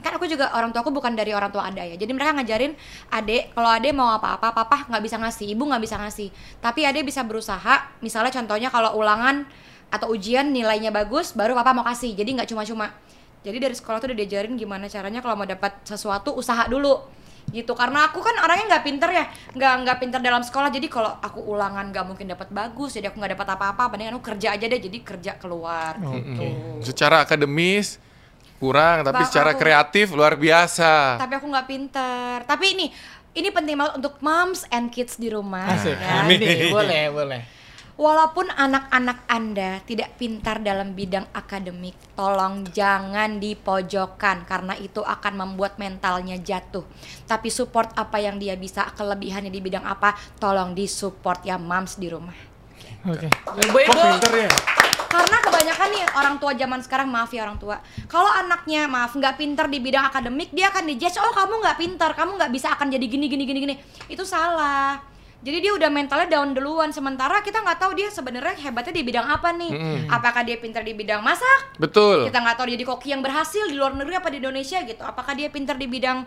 Speaker 1: kan aku juga orang tua aku bukan dari orang tua ada ya jadi mereka ngajarin adek kalau adek mau apa-apa papa nggak bisa ngasih ibu nggak bisa ngasih tapi adek bisa berusaha misalnya contohnya kalau ulangan atau ujian nilainya bagus baru papa mau kasih jadi nggak cuma-cuma jadi dari sekolah tuh udah diajarin gimana caranya kalau mau dapat sesuatu usaha dulu gitu karena aku kan orangnya nggak pinter ya nggak nggak pinter dalam sekolah jadi kalau aku ulangan nggak mungkin dapat bagus jadi aku nggak dapat apa-apa mendingan aku kerja aja deh jadi kerja keluar gitu
Speaker 2: Secara akademis kurang,
Speaker 1: Bang,
Speaker 2: tapi secara
Speaker 1: aku-
Speaker 2: kreatif luar biasa.
Speaker 1: tapi aku nggak pinter tapi ini ini penting banget untuk moms and kids di rumah
Speaker 3: Asik.
Speaker 1: ya.
Speaker 2: Nah,
Speaker 3: Nah, [LAUGHS] Ini boleh boleh.
Speaker 1: walaupun anak-anak anda tidak pintar dalam bidang akademik tolong jangan dipojokkan karena itu akan membuat mentalnya jatuh tapi support apa yang dia bisa kelebihannya di bidang apa tolong disupport ya moms di rumah
Speaker 3: Oke. Ibu
Speaker 2: Kok
Speaker 3: ibu.
Speaker 2: pinter ya?
Speaker 1: karena kebanyakan nih orang tua zaman sekarang maaf ya orang tua kalau anaknya maaf nggak pinter di bidang akademik dia akan dijudge oh kamu nggak pinter kamu nggak bisa akan jadi gini gini gini gini itu salah jadi dia udah mentalnya down duluan sementara kita nggak tahu dia sebenarnya hebatnya di bidang apa nih apakah dia pinter di bidang masak
Speaker 2: Betul.
Speaker 1: kita nggak tahu dia jadi koki yang berhasil di luar negeri apa di Indonesia gitu apakah dia pinter di bidang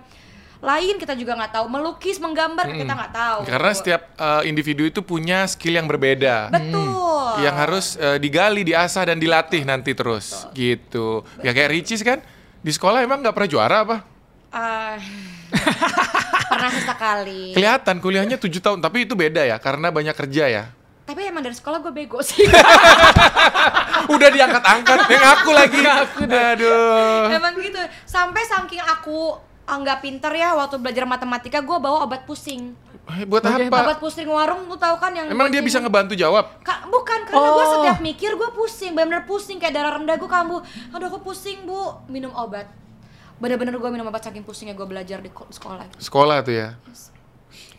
Speaker 1: lain kita juga nggak tahu melukis menggambar kita nggak tahu
Speaker 2: Karena setiap uh, individu itu punya skill yang berbeda.
Speaker 1: betul
Speaker 2: yang harus eh, digali, diasah dan dilatih nanti terus gitu. Ya kayak Ricis kan di sekolah emang nggak pernah juara apa? [LAUGHS]
Speaker 1: Ah, pernah sesekali
Speaker 2: Kelihatan kuliahnya 7 tahun, tapi itu beda ya karena banyak kerja ya.
Speaker 1: tapi emang dari sekolah gue bego
Speaker 2: [LAUGHS]
Speaker 1: sih
Speaker 2: Udah diangkat-angkat, yang aku lagi. Aduh.
Speaker 1: emang gitu sampai saking aku ah, nggak pinter ya waktu belajar matematika gue bawa obat pusing
Speaker 2: Eh, Buat
Speaker 3: Oke,
Speaker 2: apa?
Speaker 1: obat pusing warung lu tahu kan yang
Speaker 2: Emang dia bisa ngebantu jawab?
Speaker 1: Ka- bukan karena gue
Speaker 3: Oh.
Speaker 1: setiap mikir gue pusing bener-bener pusing kayak darah rendah gue kambuh aduh aku pusing bu minum obat bener-bener gue minum obat saking pusingnya gue belajar di ko- sekolah
Speaker 2: Sekolah tuh ya.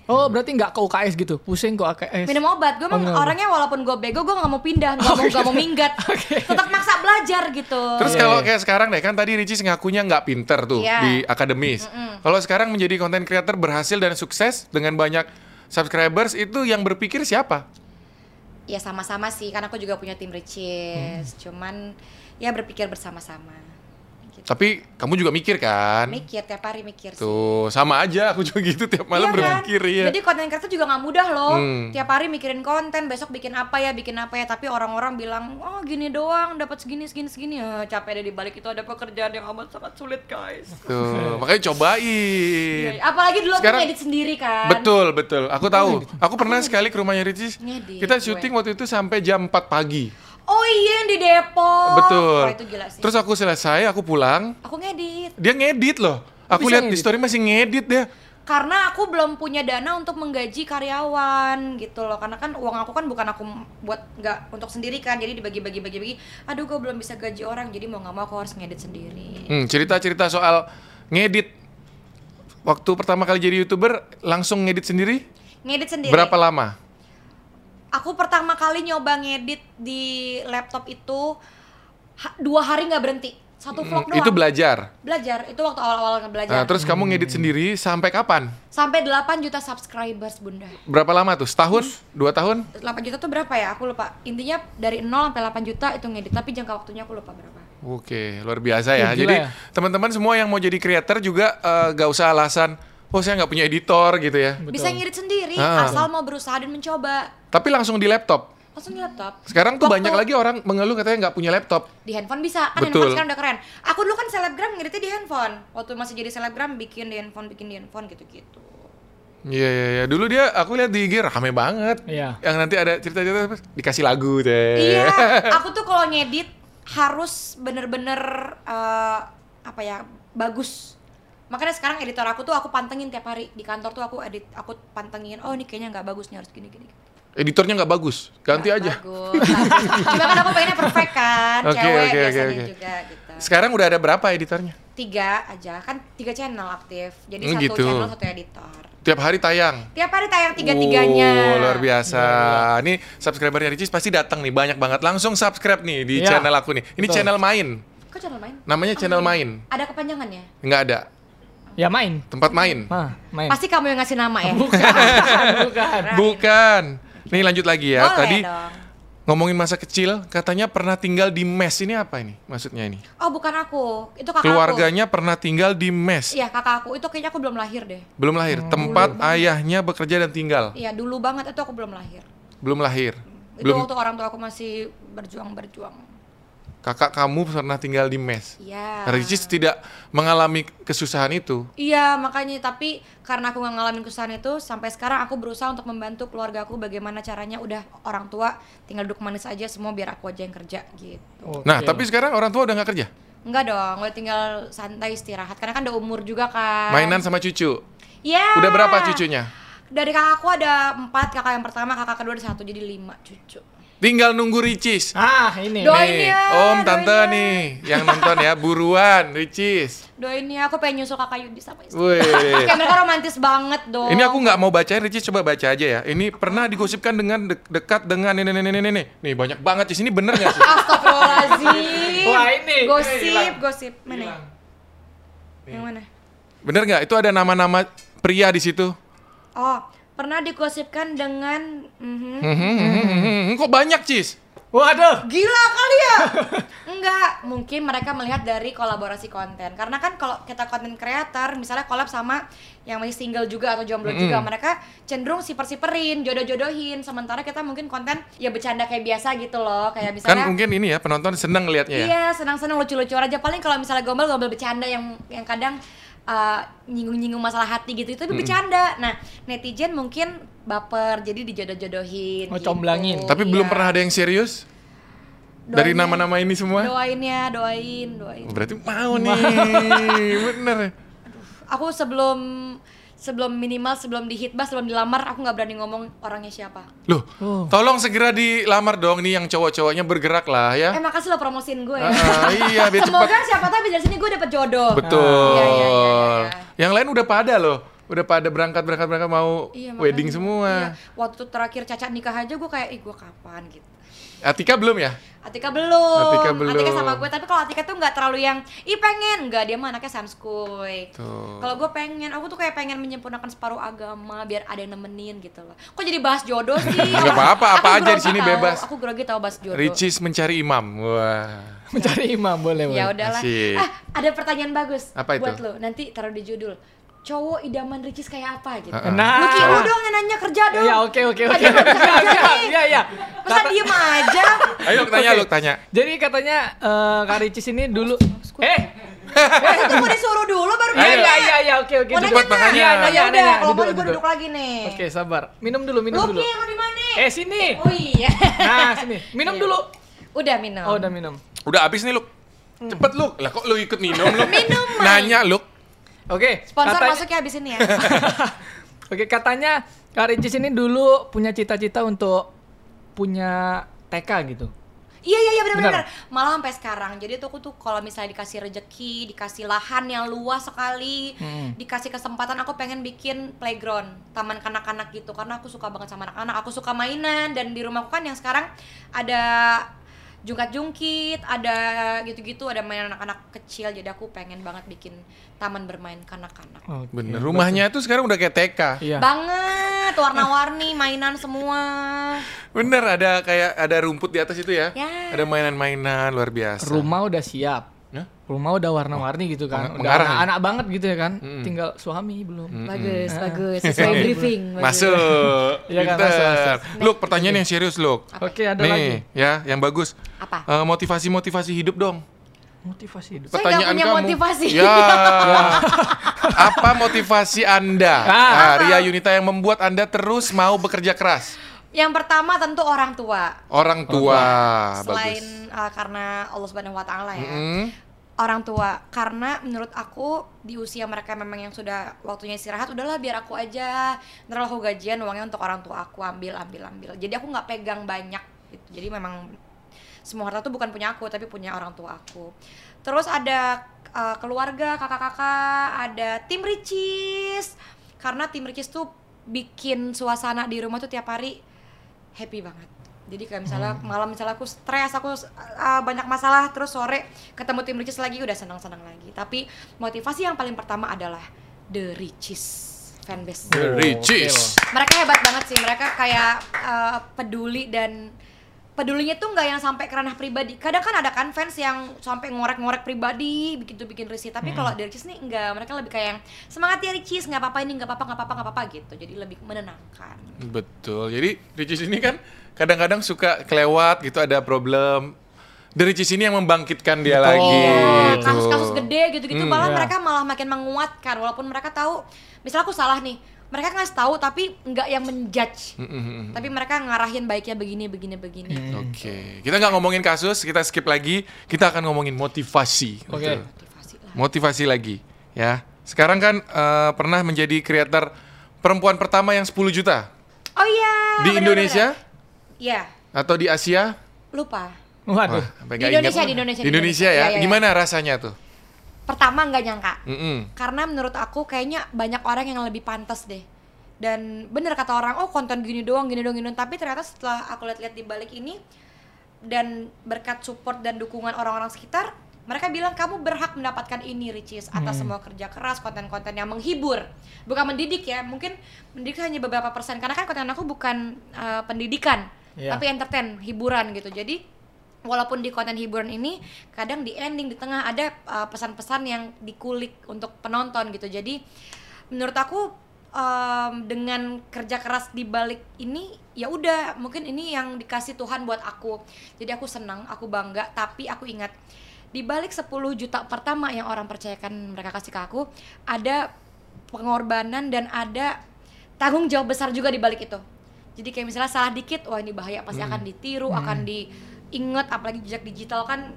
Speaker 3: Oh berarti nggak ke UKS gitu? Pusing ke UKS.
Speaker 1: minum obat gue emang
Speaker 3: Oh, minum obat.
Speaker 1: orangnya walaupun gue bego gue nggak mau pindah nggak mau nggak mau minggat
Speaker 2: [LAUGHS]
Speaker 1: tetap maksa belajar gitu
Speaker 2: Oh, iya. Terus
Speaker 3: Iya,
Speaker 2: kalau
Speaker 3: iya.
Speaker 2: kayak sekarang deh kan tadi Ricis ngakunya nggak pinter tuh
Speaker 1: Iya.
Speaker 2: di akademis. Kalau sekarang menjadi konten creator berhasil dan sukses dengan banyak subscribers itu yang berpikir siapa?
Speaker 1: ya sama-sama sih karena aku juga punya tim
Speaker 2: Hmm.
Speaker 1: Ricis cuman ya berpikir bersama-sama gitu.
Speaker 2: Tapi kamu juga mikir kan?
Speaker 1: mikir tiap hari mikir sih
Speaker 2: Tuh, sama aja aku juga gitu tiap malam
Speaker 1: Iya kan?
Speaker 2: berpikir ya.
Speaker 1: Jadi konten kreator juga nggak mudah loh.
Speaker 2: Hmm.
Speaker 1: Tiap hari mikirin konten, besok bikin apa ya, bikin apa ya. Tapi orang-orang bilang, oh gini doang, dapat segini, segini, segini. Ya, capek deh dibalik itu ada pekerjaan yang amat sangat sulit guys.
Speaker 2: Tuh, makanya
Speaker 1: Iya,
Speaker 2: cobain.
Speaker 1: Apalagi dulu
Speaker 2: Iya. Sekarang-
Speaker 1: aku ngedit sendiri kan. gitu. Oh.
Speaker 2: Betul, betul. Aku tahu. Aku pernah sekali ke rumahnya Ricis.
Speaker 1: Ngedit
Speaker 2: Kita
Speaker 1: gue.
Speaker 2: syuting waktu itu sampai jam 4 pagi.
Speaker 1: Oh iya yang di Depok.
Speaker 2: Betul.
Speaker 1: Wah, itu gila sih.
Speaker 2: Terus aku selesai, aku pulang.
Speaker 1: aku ngedit.
Speaker 2: Dia ngedit loh. Aku
Speaker 3: Bisa
Speaker 2: lihat di
Speaker 3: ngedit?
Speaker 2: story masih ngedit dia.
Speaker 1: karena aku belum punya dana untuk menggaji karyawan gitu loh karena kan uang aku kan bukan aku m- buat nggak untuk sendiri kan jadi dibagi-bagi bagi-bagi aduh gue belum bisa gaji orang jadi mau nggak mau aku harus ngedit sendiri
Speaker 2: Hmm, cerita-cerita soal ngedit. Waktu pertama kali jadi YouTuber langsung ngedit sendiri?
Speaker 1: ngedit sendiri
Speaker 2: Berapa lama?
Speaker 1: aku pertama kali nyoba ngedit di laptop itu ha- dua hari nggak berhenti Satu vlog doang.
Speaker 2: Hmm, Itu belajar.
Speaker 1: belajar. Hmm. Itu waktu awal-awal ngebelajar.
Speaker 2: Nah, terus kamu ngedit sendiri sampai kapan?
Speaker 1: Sampai 8 juta subscribers, Bunda.
Speaker 2: Berapa lama tuh?
Speaker 1: Hmm.
Speaker 2: Setahun? Dua tahun?
Speaker 1: 8 juta tuh berapa ya? Aku lupa. Intinya dari 0 sampai 8 juta itu ngedit, tapi jangka waktunya aku lupa berapa.
Speaker 2: Oke, luar biasa ya.
Speaker 3: Ih, gila
Speaker 2: jadi
Speaker 3: ya.
Speaker 2: teman-teman semua yang mau jadi creator juga eh, gak usah alasan, oh saya nggak punya editor gitu ya.
Speaker 1: Bisa ngedit sendiri
Speaker 2: Ah.
Speaker 1: asal mau berusaha dan mencoba.
Speaker 2: Tapi langsung di laptop.
Speaker 1: Langsung di laptop.
Speaker 2: Sekarang tuh
Speaker 1: Waktu
Speaker 2: banyak lagi orang mengeluh katanya nggak punya laptop.
Speaker 1: Di handphone bisa, kan
Speaker 2: Betul.
Speaker 1: handphone sekarang udah keren. Aku dulu kan selebgram ngeditnya di handphone. Waktu masih jadi selebgram bikin di handphone, bikin di handphone gitu-gitu.
Speaker 2: Iya iya iya. Dulu dia aku lihat di IG rame banget.
Speaker 3: Iya.
Speaker 2: Yang nanti ada cerita-cerita apa, dikasih lagu deh. [LAUGHS]
Speaker 1: Iya, aku tuh kalau ngedit harus bener-bener eh, apa ya bagus. Makanya sekarang editor aku tuh aku pantengin tiap hari di kantor tuh aku edit, aku pantengin. Oh ini kayaknya nggak bagus nih harus gini gini.
Speaker 2: Editornya nggak bagus. Ganti
Speaker 1: Nggak
Speaker 2: aja.
Speaker 1: Bagus. bagus. Cuma kan aku pengennya perfect kan,
Speaker 2: [LAUGHS] Oke,
Speaker 1: cewek
Speaker 2: oke, oke,
Speaker 1: biasanya
Speaker 2: oke.
Speaker 1: juga gitu.
Speaker 2: Sekarang udah ada berapa editornya?
Speaker 1: Tiga aja kan tiga channel aktif, jadi
Speaker 2: Hmm,
Speaker 1: satu
Speaker 2: gitu.
Speaker 1: channel satu editor.
Speaker 2: Tiap hari tayang.
Speaker 1: Tiap hari tayang tiga tiganya.
Speaker 2: Oh, luar biasa.
Speaker 3: Iya,
Speaker 2: Ini subscribernya Ricis pasti datang nih banyak banget. Langsung subscribe nih di
Speaker 3: Iya.
Speaker 2: channel aku nih. Ini
Speaker 3: Betul.
Speaker 2: channel main.
Speaker 1: Kok channel main?
Speaker 2: Namanya channel main.
Speaker 1: Ada kepanjangannya?
Speaker 2: Nggak ada.
Speaker 3: Ya main.
Speaker 2: Tempat main. Eh.
Speaker 3: Hah, main. [LAUGHS]
Speaker 1: Pasti kamu yang ngasih nama ya.
Speaker 3: Bukan.
Speaker 2: Bukan. Nih lanjut lagi ya.
Speaker 1: Boleh
Speaker 2: Tadi
Speaker 1: dong.
Speaker 2: ngomongin masa kecil, katanya pernah tinggal di mes ini apa ini? Maksudnya ini.
Speaker 1: Oh bukan aku, itu kakak aku.
Speaker 2: Keluarganya pernah tinggal di mes.
Speaker 1: Iya Hmm. kakak aku, itu kayaknya aku belum lahir deh.
Speaker 2: Belum lahir. Tempat ayahnya bekerja dan tinggal.
Speaker 1: Iya dulu banget itu aku belum lahir.
Speaker 2: Belum lahir.
Speaker 1: Itu
Speaker 2: Belum
Speaker 1: waktu orang tua aku masih berjuang berjuang.
Speaker 2: kakak kamu pernah tinggal di mes.
Speaker 1: Iya.
Speaker 2: Nah, Ricis tidak mengalami kesusahan itu.
Speaker 1: Iya makanya tapi karena aku nggak ngalamin kesusahan itu sampai sekarang aku berusaha untuk membantu keluarga aku bagaimana caranya udah orang tua tinggal duduk manis aja semua biar aku aja yang kerja gitu.
Speaker 3: Oke.
Speaker 2: Nah, tapi sekarang orang tua udah nggak kerja.
Speaker 1: Enggak dong, udah tinggal santai istirahat karena kan udah umur juga kan.
Speaker 2: Mainan sama cucu.
Speaker 1: Iya.
Speaker 2: Udah berapa cucunya?
Speaker 1: Dari kakak aku ada empat, kakak yang pertama, kakak kedua ada satu, jadi lima cucu.
Speaker 2: Tinggal nunggu Ricis.
Speaker 3: Ah, ini.
Speaker 1: Doa- Doain
Speaker 2: Nih,
Speaker 1: ya,
Speaker 2: Om, Tante
Speaker 1: doain ya.
Speaker 2: nih yang nonton ya, buruan Ricis.
Speaker 1: Doain ya, aku pengen nyusul kakak Yudi sama istri.
Speaker 2: Wih.
Speaker 1: Kayak mereka romantis banget dong.
Speaker 2: Ini aku nggak mau bacain Ricis coba baca aja ya. Ini pernah digosipkan dengan dek- dekat dengan ini ini ini ini nih. Nih banyak banget di sini bener nggak sih?
Speaker 1: Astagfirullahaladzim.
Speaker 3: Wah, ini.
Speaker 1: Gosip,
Speaker 2: Eh, hilang.
Speaker 1: gosip. Mana? ya? Yang mana?
Speaker 2: Bener nggak? Itu ada nama-nama pria di situ.
Speaker 1: Oh, pernah digosipkan dengan... mhm.
Speaker 2: Mhm, mhm, mhm, mhm. Kok banyak Cis?
Speaker 3: Waduh.
Speaker 1: Gila kali ya? [LAUGHS] Enggak, mungkin mereka melihat dari kolaborasi konten. Karena kan kalau kita konten creator, misalnya collab sama yang masih single juga atau jomblo juga, mereka cenderung siper-siperin, jodoh-jodohin. Sementara kita mungkin konten ya bercanda kayak biasa gitu loh, kayak
Speaker 2: Kan
Speaker 1: misalnya
Speaker 2: mungkin ini ya penonton seneng liatnya ya.
Speaker 1: Iya, senang-senang lucu-lucuan aja. Paling kalau misalnya gombal gombal bercanda yang yang kadang uh, nyinggung-nyinggung masalah hati gitu, itu bercanda. Nah, netizen mungkin baper jadi dijodoh-jodohin.
Speaker 3: Oh, comblangin.
Speaker 1: gitu.
Speaker 2: Tapi
Speaker 1: Iya.
Speaker 2: belum pernah ada yang serius
Speaker 1: Doain
Speaker 2: dari
Speaker 1: ya.
Speaker 2: nama-nama ini semua. Oh,
Speaker 1: Doain ya, doain, doain.
Speaker 2: Berarti mau nih, [LAUGHS] bener.
Speaker 1: Aku sebelum sebelum minimal sebelum dihitbah sebelum dilamar aku nggak berani ngomong orangnya siapa.
Speaker 2: Loh,
Speaker 3: Oh.
Speaker 2: tolong segera dilamar dong nih yang cowok-cowoknya bergerak lah ya.
Speaker 1: Eh makasih lo promosiin gue ya.
Speaker 2: Ah, iya, biar
Speaker 1: [LAUGHS] Semoga
Speaker 2: cepat.
Speaker 1: siapa tahu abis dari sini gue dapet jodoh.
Speaker 2: Betul.
Speaker 1: Iya, iya, iya, iya.
Speaker 2: Yang lain udah pada loh, udah pada berangkat berangkat berangkat mau
Speaker 1: Iya, makanya.
Speaker 2: wedding
Speaker 1: Iya.
Speaker 2: semua.
Speaker 1: Waktu terakhir Caca nikah aja gue kayak, ih gue kapan gitu.
Speaker 2: Atika belum ya?
Speaker 1: Atika belum.
Speaker 2: Atika belum.
Speaker 1: sama gue, tapi kalau Atika tuh nggak terlalu yang, ih pengen, nggak dia mah anaknya samskuy.
Speaker 2: Tuh.
Speaker 1: Kalau gue pengen, aku tuh kayak pengen menyempurnakan separuh agama biar ada yang nemenin gitu loh. Kok jadi bahas jodoh sih?
Speaker 2: [LAUGHS] Nggak apa-apa,
Speaker 1: Aku
Speaker 2: apa aja di
Speaker 1: grogi
Speaker 2: sini
Speaker 1: tahu,
Speaker 2: bebas.
Speaker 1: Aku grogi tahu bahas jodoh.
Speaker 2: Ricis mencari imam. Wah.
Speaker 3: Mencari imam boleh, boleh.
Speaker 1: Ya udahlah.
Speaker 2: Asik.
Speaker 1: Ah, ada pertanyaan bagus
Speaker 2: Apa itu?
Speaker 1: buat lo. Nanti taruh di judul. Cowok idaman Ricis kayak apa gitu.
Speaker 2: Ah, ah.
Speaker 3: Nah.
Speaker 1: Lu kirim dong yang nanya kerja
Speaker 3: Ya,
Speaker 1: dong.
Speaker 3: Ya, oke, oke,
Speaker 1: Tadi
Speaker 3: oke.
Speaker 1: lu kerja nih.
Speaker 3: Ya, ya.
Speaker 1: Masa diem aja?
Speaker 3: [LAUGHS]
Speaker 2: Ayo tanya
Speaker 3: Oke.
Speaker 2: lu tanya.
Speaker 3: Jadi katanya eh Kak Ricis ini dulu Eh,
Speaker 1: Masa tuh gue disuruh dulu baru
Speaker 2: Ayo.
Speaker 3: iya
Speaker 1: nanya.
Speaker 3: iya iya ya, oke oke.
Speaker 1: Mau nanya
Speaker 2: Cepet, Cepat, makanya.
Speaker 1: Iya,
Speaker 3: Nanya,
Speaker 1: nanya
Speaker 3: nanya.
Speaker 1: udah. Kalau mau
Speaker 3: Duduk,
Speaker 1: gue
Speaker 3: duduk.
Speaker 1: duduk lagi nih.
Speaker 3: Oke, sabar. Minum dulu, minum
Speaker 1: Lu
Speaker 3: dulu.
Speaker 1: Ki, lu di mana?
Speaker 3: Eh, sini.
Speaker 1: Oh iya. [LAUGHS]
Speaker 3: Nah, sini. Minum
Speaker 1: Iya.
Speaker 3: dulu.
Speaker 1: Udah minum.
Speaker 3: Oh, udah minum.
Speaker 2: Udah habis nih lu. Cepet lu. Lah kok lu ikut minum lu?
Speaker 1: [LAUGHS] Minum, Mai.
Speaker 2: Nanya lu.
Speaker 3: Oke.
Speaker 1: Sponsor
Speaker 3: katanya-
Speaker 1: masuk ya abis ini ya.
Speaker 3: [LAUGHS] Oke, katanya Kak Ricis ini dulu punya cita-cita untuk punya TK gitu.
Speaker 1: Iya iya iya benar
Speaker 3: Benar.
Speaker 1: benar. Malah sampai sekarang. Jadi tuh aku tuh kalau misalnya dikasih rejeki, dikasih lahan yang luas sekali,
Speaker 3: Hmm.
Speaker 1: dikasih kesempatan aku pengen bikin playground, taman kanak-kanak gitu karena aku suka banget sama anak-anak. Aku suka mainan dan di rumahku kan yang sekarang ada jungkat-jungkit, ada gitu-gitu, ada main anak-anak kecil. Jadi aku pengen banget bikin taman bermain kanak-kanak.
Speaker 3: Oke.
Speaker 2: Bener. Rumahnya itu sekarang udah kayak TK.
Speaker 3: Iya.
Speaker 1: Banget, warna-warni, mainan semua.
Speaker 2: Bener ada kayak ada rumput di atas itu ya.
Speaker 1: Ya.
Speaker 2: Ada mainan-mainan luar biasa.
Speaker 3: Rumah udah siap.
Speaker 2: Hah?
Speaker 3: Rumah udah warna-warni gitu kan.
Speaker 2: Meng-
Speaker 3: Udah
Speaker 2: mengarah ya? Mm.
Speaker 3: anak-anak banget gitu ya kan. Tinggal suami belum.
Speaker 4: Bagus, bagus. Sesuai briefing. bagus.
Speaker 2: Masuk.
Speaker 3: Iya kan,
Speaker 2: Pinter.
Speaker 3: masuk, masuk.
Speaker 2: Look, pertanyaan yang serius, Look.
Speaker 3: Oke, ada
Speaker 2: Nih,
Speaker 3: lagi.
Speaker 2: ya, yang bagus.
Speaker 1: Apa?
Speaker 2: Eh, motivasi-motivasi hidup dong.
Speaker 3: Motivasi hidup.
Speaker 1: Saya nggak punya motivasi. [LAUGHS]
Speaker 2: Ya. Apa motivasi Anda?
Speaker 3: Ah.
Speaker 2: Ah, Ria Yunita yang membuat Anda terus mau bekerja keras.
Speaker 1: Yang pertama tentu orang tua.
Speaker 2: Orang tua.
Speaker 1: Selain
Speaker 2: Ah, Bagus.
Speaker 1: uh, karena Allah Subhanahu wa taala ya.
Speaker 2: Mm.
Speaker 1: Orang tua karena menurut aku di usia mereka memang yang sudah waktunya istirahat udahlah biar aku aja ntar aku gajian uangnya untuk orang tua aku ambil ambil ambil jadi aku nggak pegang banyak gitu jadi memang semua harta tuh bukan punya aku tapi punya orang tua aku terus ada uh, keluarga kakak-kakak ada tim Ricis karena tim Ricis tuh bikin suasana di rumah tuh tiap hari happy banget jadi kayak misalnya malam misalnya aku stres aku uh, banyak masalah terus sore ketemu tim Ricis lagi udah senang senang lagi tapi motivasi yang paling pertama adalah the Ricis fanbase
Speaker 3: Oh,
Speaker 2: The Ricis.
Speaker 1: mereka hebat banget sih mereka kayak uh, peduli dan pedulinya tuh nggak yang sampai ke ranah pribadi kadang kan ada kan fans yang sampai ngorek-ngorek pribadi begitu bikin risih tapi kalau dari Ricis nih enggak mereka lebih kayak yang semangat ya Ricis nggak apa-apa ini nggak apa-apa nggak apa-apa nggak apa-apa gitu jadi lebih menenangkan
Speaker 2: Betul. Jadi Ricis ini kan kadang-kadang suka kelewat gitu ada problem. The Ricis ini yang membangkitkan dia
Speaker 3: Betul.
Speaker 2: lagi.
Speaker 1: Iya,
Speaker 2: gitu.
Speaker 1: kasus-kasus gede gitu-gitu
Speaker 2: Hmm.
Speaker 1: malah
Speaker 3: Iya.
Speaker 1: mereka malah makin menguatkan walaupun mereka tahu misalnya aku salah nih mereka ngasih tahu tapi nggak yang menjudge
Speaker 2: Mm, mm, mm.
Speaker 1: tapi mereka ngarahin baiknya begini begini begini
Speaker 2: Oke, kita nggak ngomongin kasus, kita skip lagi. Kita akan ngomongin motivasi.
Speaker 3: Oke.
Speaker 2: Betul.
Speaker 1: motivasi lah
Speaker 2: Motivasi lagi, ya. Sekarang kan eh, pernah menjadi creator perempuan pertama yang 10 juta
Speaker 1: oh iya
Speaker 2: di
Speaker 1: bener-bener.
Speaker 2: Indonesia
Speaker 1: iya
Speaker 2: atau di Asia?
Speaker 1: lupa
Speaker 3: Waduh.
Speaker 2: Wah, sampai
Speaker 1: Di
Speaker 2: nggak
Speaker 1: Indonesia,
Speaker 2: ingat.
Speaker 1: di Indonesia,
Speaker 2: Di
Speaker 1: di
Speaker 2: Indonesia ya.
Speaker 1: Indonesia. Iya, iya.
Speaker 2: Gimana rasanya tuh?
Speaker 1: pertama nggak nyangka
Speaker 2: Mm-mm.
Speaker 1: karena menurut aku kayaknya banyak orang yang lebih pantas deh dan bener kata orang oh konten gini doang gini doang gini doang tapi ternyata setelah aku lihat-lihat di balik ini dan berkat support dan dukungan orang-orang sekitar mereka bilang kamu berhak mendapatkan ini Ricis atas semua kerja keras konten-konten yang menghibur bukan mendidik ya mungkin mendidik hanya beberapa persen karena kan konten aku bukan uh, pendidikan
Speaker 3: Iya.
Speaker 1: tapi entertain hiburan gitu jadi walaupun di konten hiburan ini kadang di ending di tengah ada uh, pesan-pesan yang dikulik untuk penonton gitu jadi menurut aku um, dengan kerja keras di balik ini ya udah mungkin ini yang dikasih Tuhan buat aku jadi aku senang aku bangga tapi aku ingat di balik 10 juta pertama yang orang percayakan mereka kasih ke aku ada pengorbanan dan ada tanggung jawab besar juga di balik itu jadi kayak misalnya salah dikit wah ini bahaya pasti akan
Speaker 2: Hmm.
Speaker 1: ditiru akan diinget apalagi jejak digital kan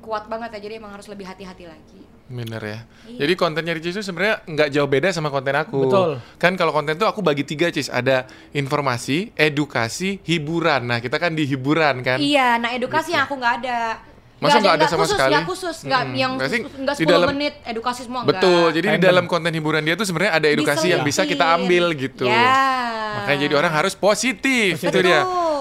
Speaker 1: kuat banget ya jadi emang harus lebih hati-hati lagi
Speaker 2: Bener ya.
Speaker 1: Iya.
Speaker 2: Jadi kontennya Ricis itu sebenarnya nggak jauh beda sama konten aku.
Speaker 3: Betul.
Speaker 2: Kan kalau konten tuh aku bagi tiga Cis. Ada informasi, edukasi, hiburan. Nah kita kan di hiburan kan.
Speaker 1: iya nah edukasi yang aku nggak ada
Speaker 2: Masa nggak ada sama
Speaker 1: khusus,
Speaker 2: sekali?
Speaker 1: Nggak khusus, nggak
Speaker 2: Mm-mm.
Speaker 1: yang
Speaker 2: Berarti
Speaker 1: khusus, nggak
Speaker 2: di
Speaker 1: 10
Speaker 2: dalam-
Speaker 1: menit, edukasi semua nggak.
Speaker 2: Betul. Jadi di
Speaker 3: Random.
Speaker 2: dalam konten hiburan dia tuh sebenarnya ada edukasi yang bisa kita
Speaker 1: Diselipin.
Speaker 2: ambil gitu.
Speaker 1: Iya, Ya.
Speaker 2: Makanya jadi orang harus positif. Itu
Speaker 1: Betul.
Speaker 2: dia.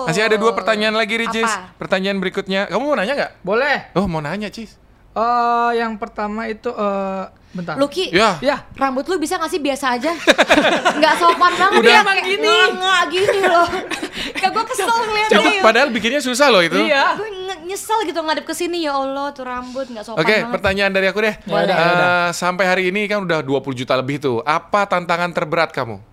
Speaker 2: Masih ada dua pertanyaan lagi Ricis.
Speaker 1: Apa?
Speaker 2: Pertanyaan berikutnya. Kamu mau nanya nggak?
Speaker 3: Boleh.
Speaker 2: Oh mau nanya Cis.
Speaker 3: Eh, yang pertama itu eh bentar.
Speaker 1: Luki,
Speaker 2: Ya.
Speaker 3: Ya.
Speaker 1: rambut lu bisa nggak sih biasa aja? [LAUGHS] nggak sopan banget
Speaker 3: Udah.
Speaker 1: dia
Speaker 3: Emang
Speaker 1: kayak
Speaker 3: gini.
Speaker 1: nggak gini loh. Kayak gue kesel ngeliatnya. ya.
Speaker 2: Itu padahal bikinnya susah loh itu.
Speaker 3: Iya.
Speaker 1: gue nge- nyesel gitu ngadep ke sini ya Allah tuh rambut nggak sopan
Speaker 2: Oke,
Speaker 1: banget.
Speaker 2: pertanyaan dari aku deh.
Speaker 3: Boleh.
Speaker 2: Eh,
Speaker 3: Ya udah.
Speaker 2: sampai hari ini kan udah 20 juta lebih tuh. Apa tantangan terberat kamu?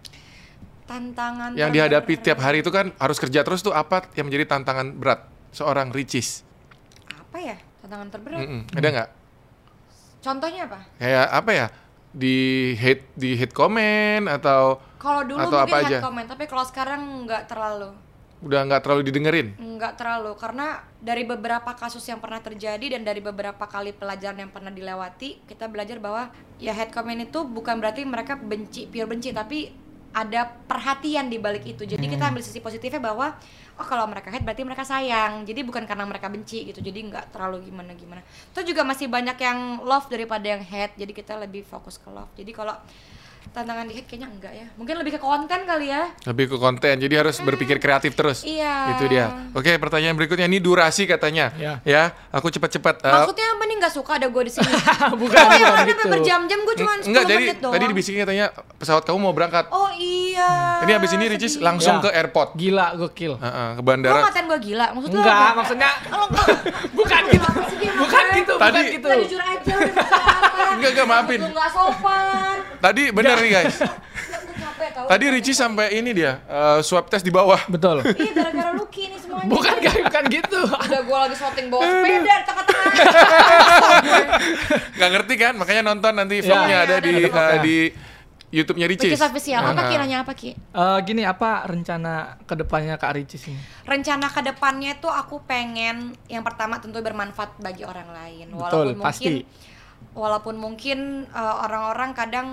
Speaker 1: Tantangan
Speaker 2: Yang dihadapi tiap hari itu kan harus kerja terus tuh apa yang menjadi tantangan berat seorang Ricis?
Speaker 1: apa ya? Tantangan terberat.
Speaker 2: Mm-mm. Ada nggak?
Speaker 1: Contohnya apa?
Speaker 2: Kayak apa ya? Di hate di hate comment atau
Speaker 1: Kalau dulu
Speaker 2: Atau
Speaker 1: mungkin
Speaker 2: apa
Speaker 1: head
Speaker 2: aja?
Speaker 1: comment, tapi kalau sekarang nggak terlalu.
Speaker 2: udah nggak terlalu didengerin?
Speaker 1: Nggak terlalu karena dari beberapa kasus yang pernah terjadi dan dari beberapa kali pelajaran yang pernah dilewati, kita belajar bahwa ya head comment itu bukan berarti mereka benci, pure benci, tapi ada perhatian di balik itu. Jadi kita ambil sisi positifnya bahwa oh kalau mereka hate berarti mereka sayang. Jadi bukan karena mereka benci gitu. Jadi nggak terlalu gimana gimana. Terus juga masih banyak yang love daripada yang hate. Jadi kita lebih fokus ke love. Jadi kalau tantangan dikit kayaknya enggak ya mungkin lebih ke konten kali ya
Speaker 2: Lebih ke konten, jadi harus berpikir kreatif terus.
Speaker 1: Iya.
Speaker 2: Itu dia. Oke, pertanyaan berikutnya ini durasi katanya.
Speaker 3: Iya.
Speaker 2: Ya, aku cepat-cepat. eh,
Speaker 1: maksudnya apa nih nggak suka ada gue di sini
Speaker 3: [LAUGHS] bukan,
Speaker 1: tapi orang
Speaker 3: bukan gitu.
Speaker 1: Iya, sampai berjam-jam gue cuma 10
Speaker 2: Iya, eh, enggak, jadi
Speaker 1: menit doang
Speaker 2: tadi dibisikin katanya pesawat kamu mau berangkat.
Speaker 1: oh iya
Speaker 2: ini habis ini Ricis
Speaker 1: sedih.
Speaker 2: langsung
Speaker 3: Iya.
Speaker 2: ke airport.
Speaker 3: Gila gokil.
Speaker 2: Ah, ah, ke
Speaker 1: lo
Speaker 2: bandara.
Speaker 1: ngatain gue gila maksud lo
Speaker 3: Enggak,
Speaker 1: apa?
Speaker 3: maksudnya
Speaker 2: [LAUGHS]
Speaker 1: Lo- lo-
Speaker 3: bukan gitu.
Speaker 1: Apa sih dia
Speaker 3: Bukan
Speaker 1: maksudnya?
Speaker 3: gitu, bukan
Speaker 2: Tadi-
Speaker 3: gitu.
Speaker 1: Udah jujur aja udah bersalah.
Speaker 2: [LAUGHS] Enggak, enggak, maafin.
Speaker 1: Lu nggak sopan
Speaker 2: Tadi benar
Speaker 3: Iya.
Speaker 2: nih guys.
Speaker 1: Gue capek tau
Speaker 2: Tadi Ricis sampai ini dia eh, swab test di bawah. [LAUGHS]
Speaker 3: Betul.
Speaker 1: Iya gara-gara Lucky nih semuanya
Speaker 3: Bukan [LAUGHS] guys, bukan gitu.
Speaker 1: Udah gue lagi shooting bawa sepeda di tengah-tengah
Speaker 2: Nggak ngerti kan? Makanya nonton nanti filmnya
Speaker 1: Iya,
Speaker 2: ada
Speaker 1: ada
Speaker 2: di
Speaker 1: di
Speaker 2: eh,
Speaker 3: vlognya.
Speaker 2: di YouTube-nya [LAUGHS] Ricis.
Speaker 1: Ricis official, apa
Speaker 2: Ah, ah.
Speaker 1: kiranya apa Ki?
Speaker 3: Eh, gini apa rencana kedepannya Kak Ricis ini?
Speaker 1: Rencana ke depannya tuh aku pengen yang pertama tentu bermanfaat bagi orang lain
Speaker 3: Betul, pasti.
Speaker 1: walaupun mungkin eh, orang-orang kadang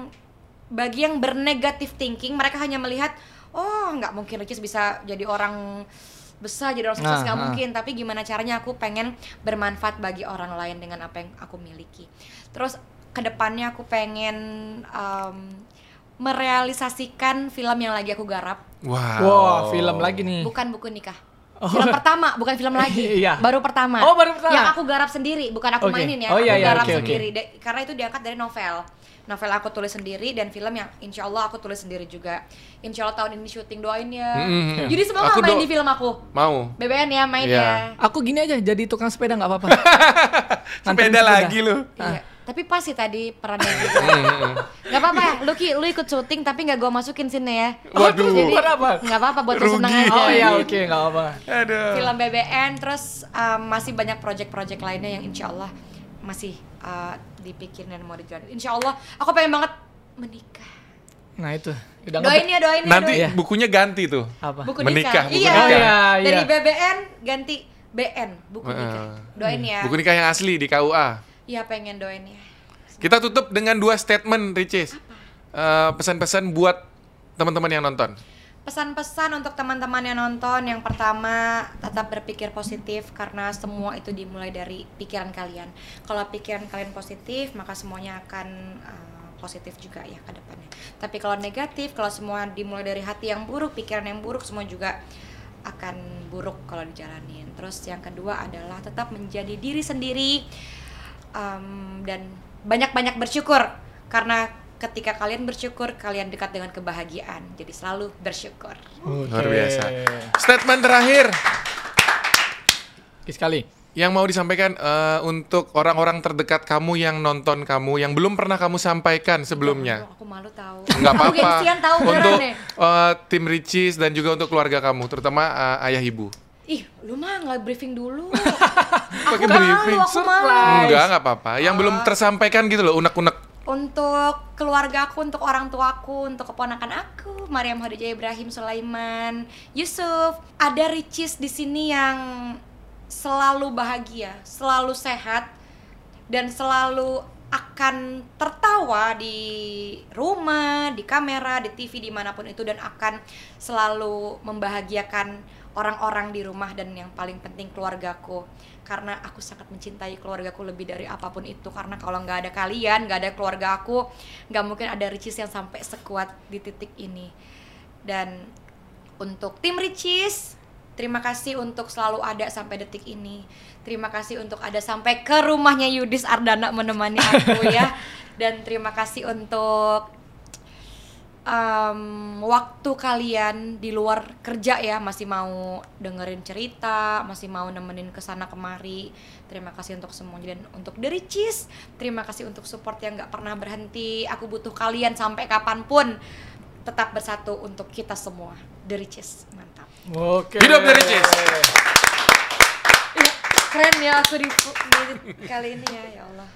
Speaker 1: bagi yang bernegatif thinking mereka hanya melihat oh nggak mungkin Ricis bisa jadi orang besar jadi orang sukses
Speaker 3: Nah,
Speaker 1: nggak
Speaker 3: ah.
Speaker 1: mungkin tapi gimana caranya aku pengen bermanfaat bagi orang lain dengan apa yang aku miliki terus kedepannya aku pengen em, merealisasikan film yang lagi aku garap
Speaker 2: Wow.
Speaker 3: Wah, film lagi nih.
Speaker 1: bukan buku nikah film pertama bukan
Speaker 3: [LAUGHS]
Speaker 1: film lagi
Speaker 3: Hmm. Oh. Iya.
Speaker 1: baru pertama
Speaker 3: Oh, baru pertama.
Speaker 1: yang aku garap sendiri bukan aku
Speaker 3: Oke.
Speaker 1: mainin ya
Speaker 3: Oh, iya,
Speaker 1: aku
Speaker 3: iya,
Speaker 1: garap
Speaker 3: oke, oke.
Speaker 1: sendiri Da- karena itu diangkat dari novel novel aku tulis sendiri dan film yang insya Allah aku tulis sendiri juga insya Allah tahun ini syuting doain ya
Speaker 2: Mm-mm.
Speaker 3: Mm-hmm.
Speaker 1: jadi semua
Speaker 2: Aku
Speaker 1: nggak main
Speaker 2: do-
Speaker 1: di film aku
Speaker 2: Mau.
Speaker 1: BBN ya main
Speaker 2: Iya.
Speaker 1: ya
Speaker 3: Aku gini aja jadi tukang sepeda nggak apa-apa.
Speaker 2: [LAUGHS]
Speaker 3: Nganterin
Speaker 2: Sepeda lagi lu.
Speaker 3: Ah.
Speaker 1: Iya. tapi pas sih tadi
Speaker 3: [LAUGHS]
Speaker 1: perannya gitu.
Speaker 3: Mm-hmm.
Speaker 1: Gak apa-apa ya, Lucky, lu ikut syuting tapi gak gue masukin sini ya
Speaker 2: Waduh.
Speaker 1: Jadi,
Speaker 3: Buat apa?
Speaker 1: Gak apa-apa, buat
Speaker 2: Rugi.
Speaker 1: kesenangan aja.
Speaker 3: Oh
Speaker 1: [LAUGHS]
Speaker 3: iya oke nggak apa-apa.
Speaker 2: Aduh.
Speaker 1: film BBN terus um, masih banyak project-project lainnya yang insya Allah masih uh, dipikirin dan mau dijalanin insya Allah aku pengen banget menikah
Speaker 3: Nah itu. Udah
Speaker 1: doain ya doain ya
Speaker 2: Nanti
Speaker 1: doain.
Speaker 3: Iya.
Speaker 2: bukunya ganti tuh.
Speaker 3: apa?
Speaker 1: buku nikah,
Speaker 2: Menikah, buku
Speaker 1: iya.
Speaker 2: nikah.
Speaker 3: Oh, iya, iya.
Speaker 1: dari BBN ganti BN buku
Speaker 2: Heeh.
Speaker 1: nikah doain ya
Speaker 2: Iya. Buku nikah yang asli di KUA.
Speaker 1: iya pengen doain ya
Speaker 2: Kita tutup dengan dua statement, Ricis. Eh, Pesan-pesan buat teman-teman yang nonton.
Speaker 1: pesan-pesan untuk teman-teman yang nonton yang pertama tetap berpikir positif karena semua itu dimulai dari pikiran kalian kalau pikiran kalian positif maka semuanya akan uh, positif juga ya ke depannya tapi kalau negatif kalau semua dimulai dari hati yang buruk pikiran yang buruk semua juga akan buruk kalau dijalanin terus yang kedua adalah tetap menjadi diri sendiri um, dan banyak-banyak bersyukur karena ketika kalian bersyukur kalian dekat dengan kebahagiaan jadi selalu bersyukur
Speaker 2: Luar biasa. Statement terakhir
Speaker 3: Oke, Sekali.
Speaker 2: yang mau disampaikan eh, untuk orang-orang terdekat kamu yang nonton kamu yang belum pernah kamu sampaikan sebelumnya.
Speaker 1: Aduh, aku malu tahu
Speaker 2: Nggak
Speaker 1: Aku
Speaker 2: apa-apa.
Speaker 1: gengsian tahu beneran
Speaker 2: Untuk
Speaker 1: deh.
Speaker 2: eh, tim Ricis dan juga untuk keluarga kamu, terutama eh, ayah ibu.
Speaker 1: ih lu mah nggak briefing dulu
Speaker 2: [LAUGHS] Pakai
Speaker 1: aku malu
Speaker 2: briefing.
Speaker 1: aku Ah. malu
Speaker 3: Surprise.
Speaker 2: Enggak, nggak apa-apa. Yang belum tersampaikan gitu loh, unek-unek.
Speaker 1: untuk keluarga aku, untuk orang tua aku, untuk keponakan aku, Mariam Hadijah Ibrahim Sulaiman, Yusuf, ada Ricis di sini yang selalu bahagia, selalu sehat, dan selalu akan tertawa di rumah, di kamera, di TV, dimanapun itu dan akan selalu membahagiakan orang-orang di rumah dan yang paling penting keluargaku karena aku sangat mencintai keluargaku lebih dari apapun itu karena kalau nggak ada kalian, nggak ada keluarga aku, nggak mungkin ada Ricis yang sampai sekuat di titik ini dan untuk tim Ricis terima kasih untuk selalu ada sampai detik ini terima kasih untuk ada sampai ke rumahnya Yudis Ardana menemani aku ya dan terima kasih untuk em, waktu kalian di luar kerja ya masih mau dengerin cerita masih mau nemenin kesana kemari terima kasih untuk semuanya dan untuk The Ricis terima kasih untuk support yang nggak pernah berhenti aku butuh kalian sampai kapanpun tetap bersatu untuk kita semua The Ricis mantap
Speaker 3: Oke.
Speaker 2: Hidup dari Ricis.
Speaker 1: Iya, keren ya aku di, di- kali ini ya ya Allah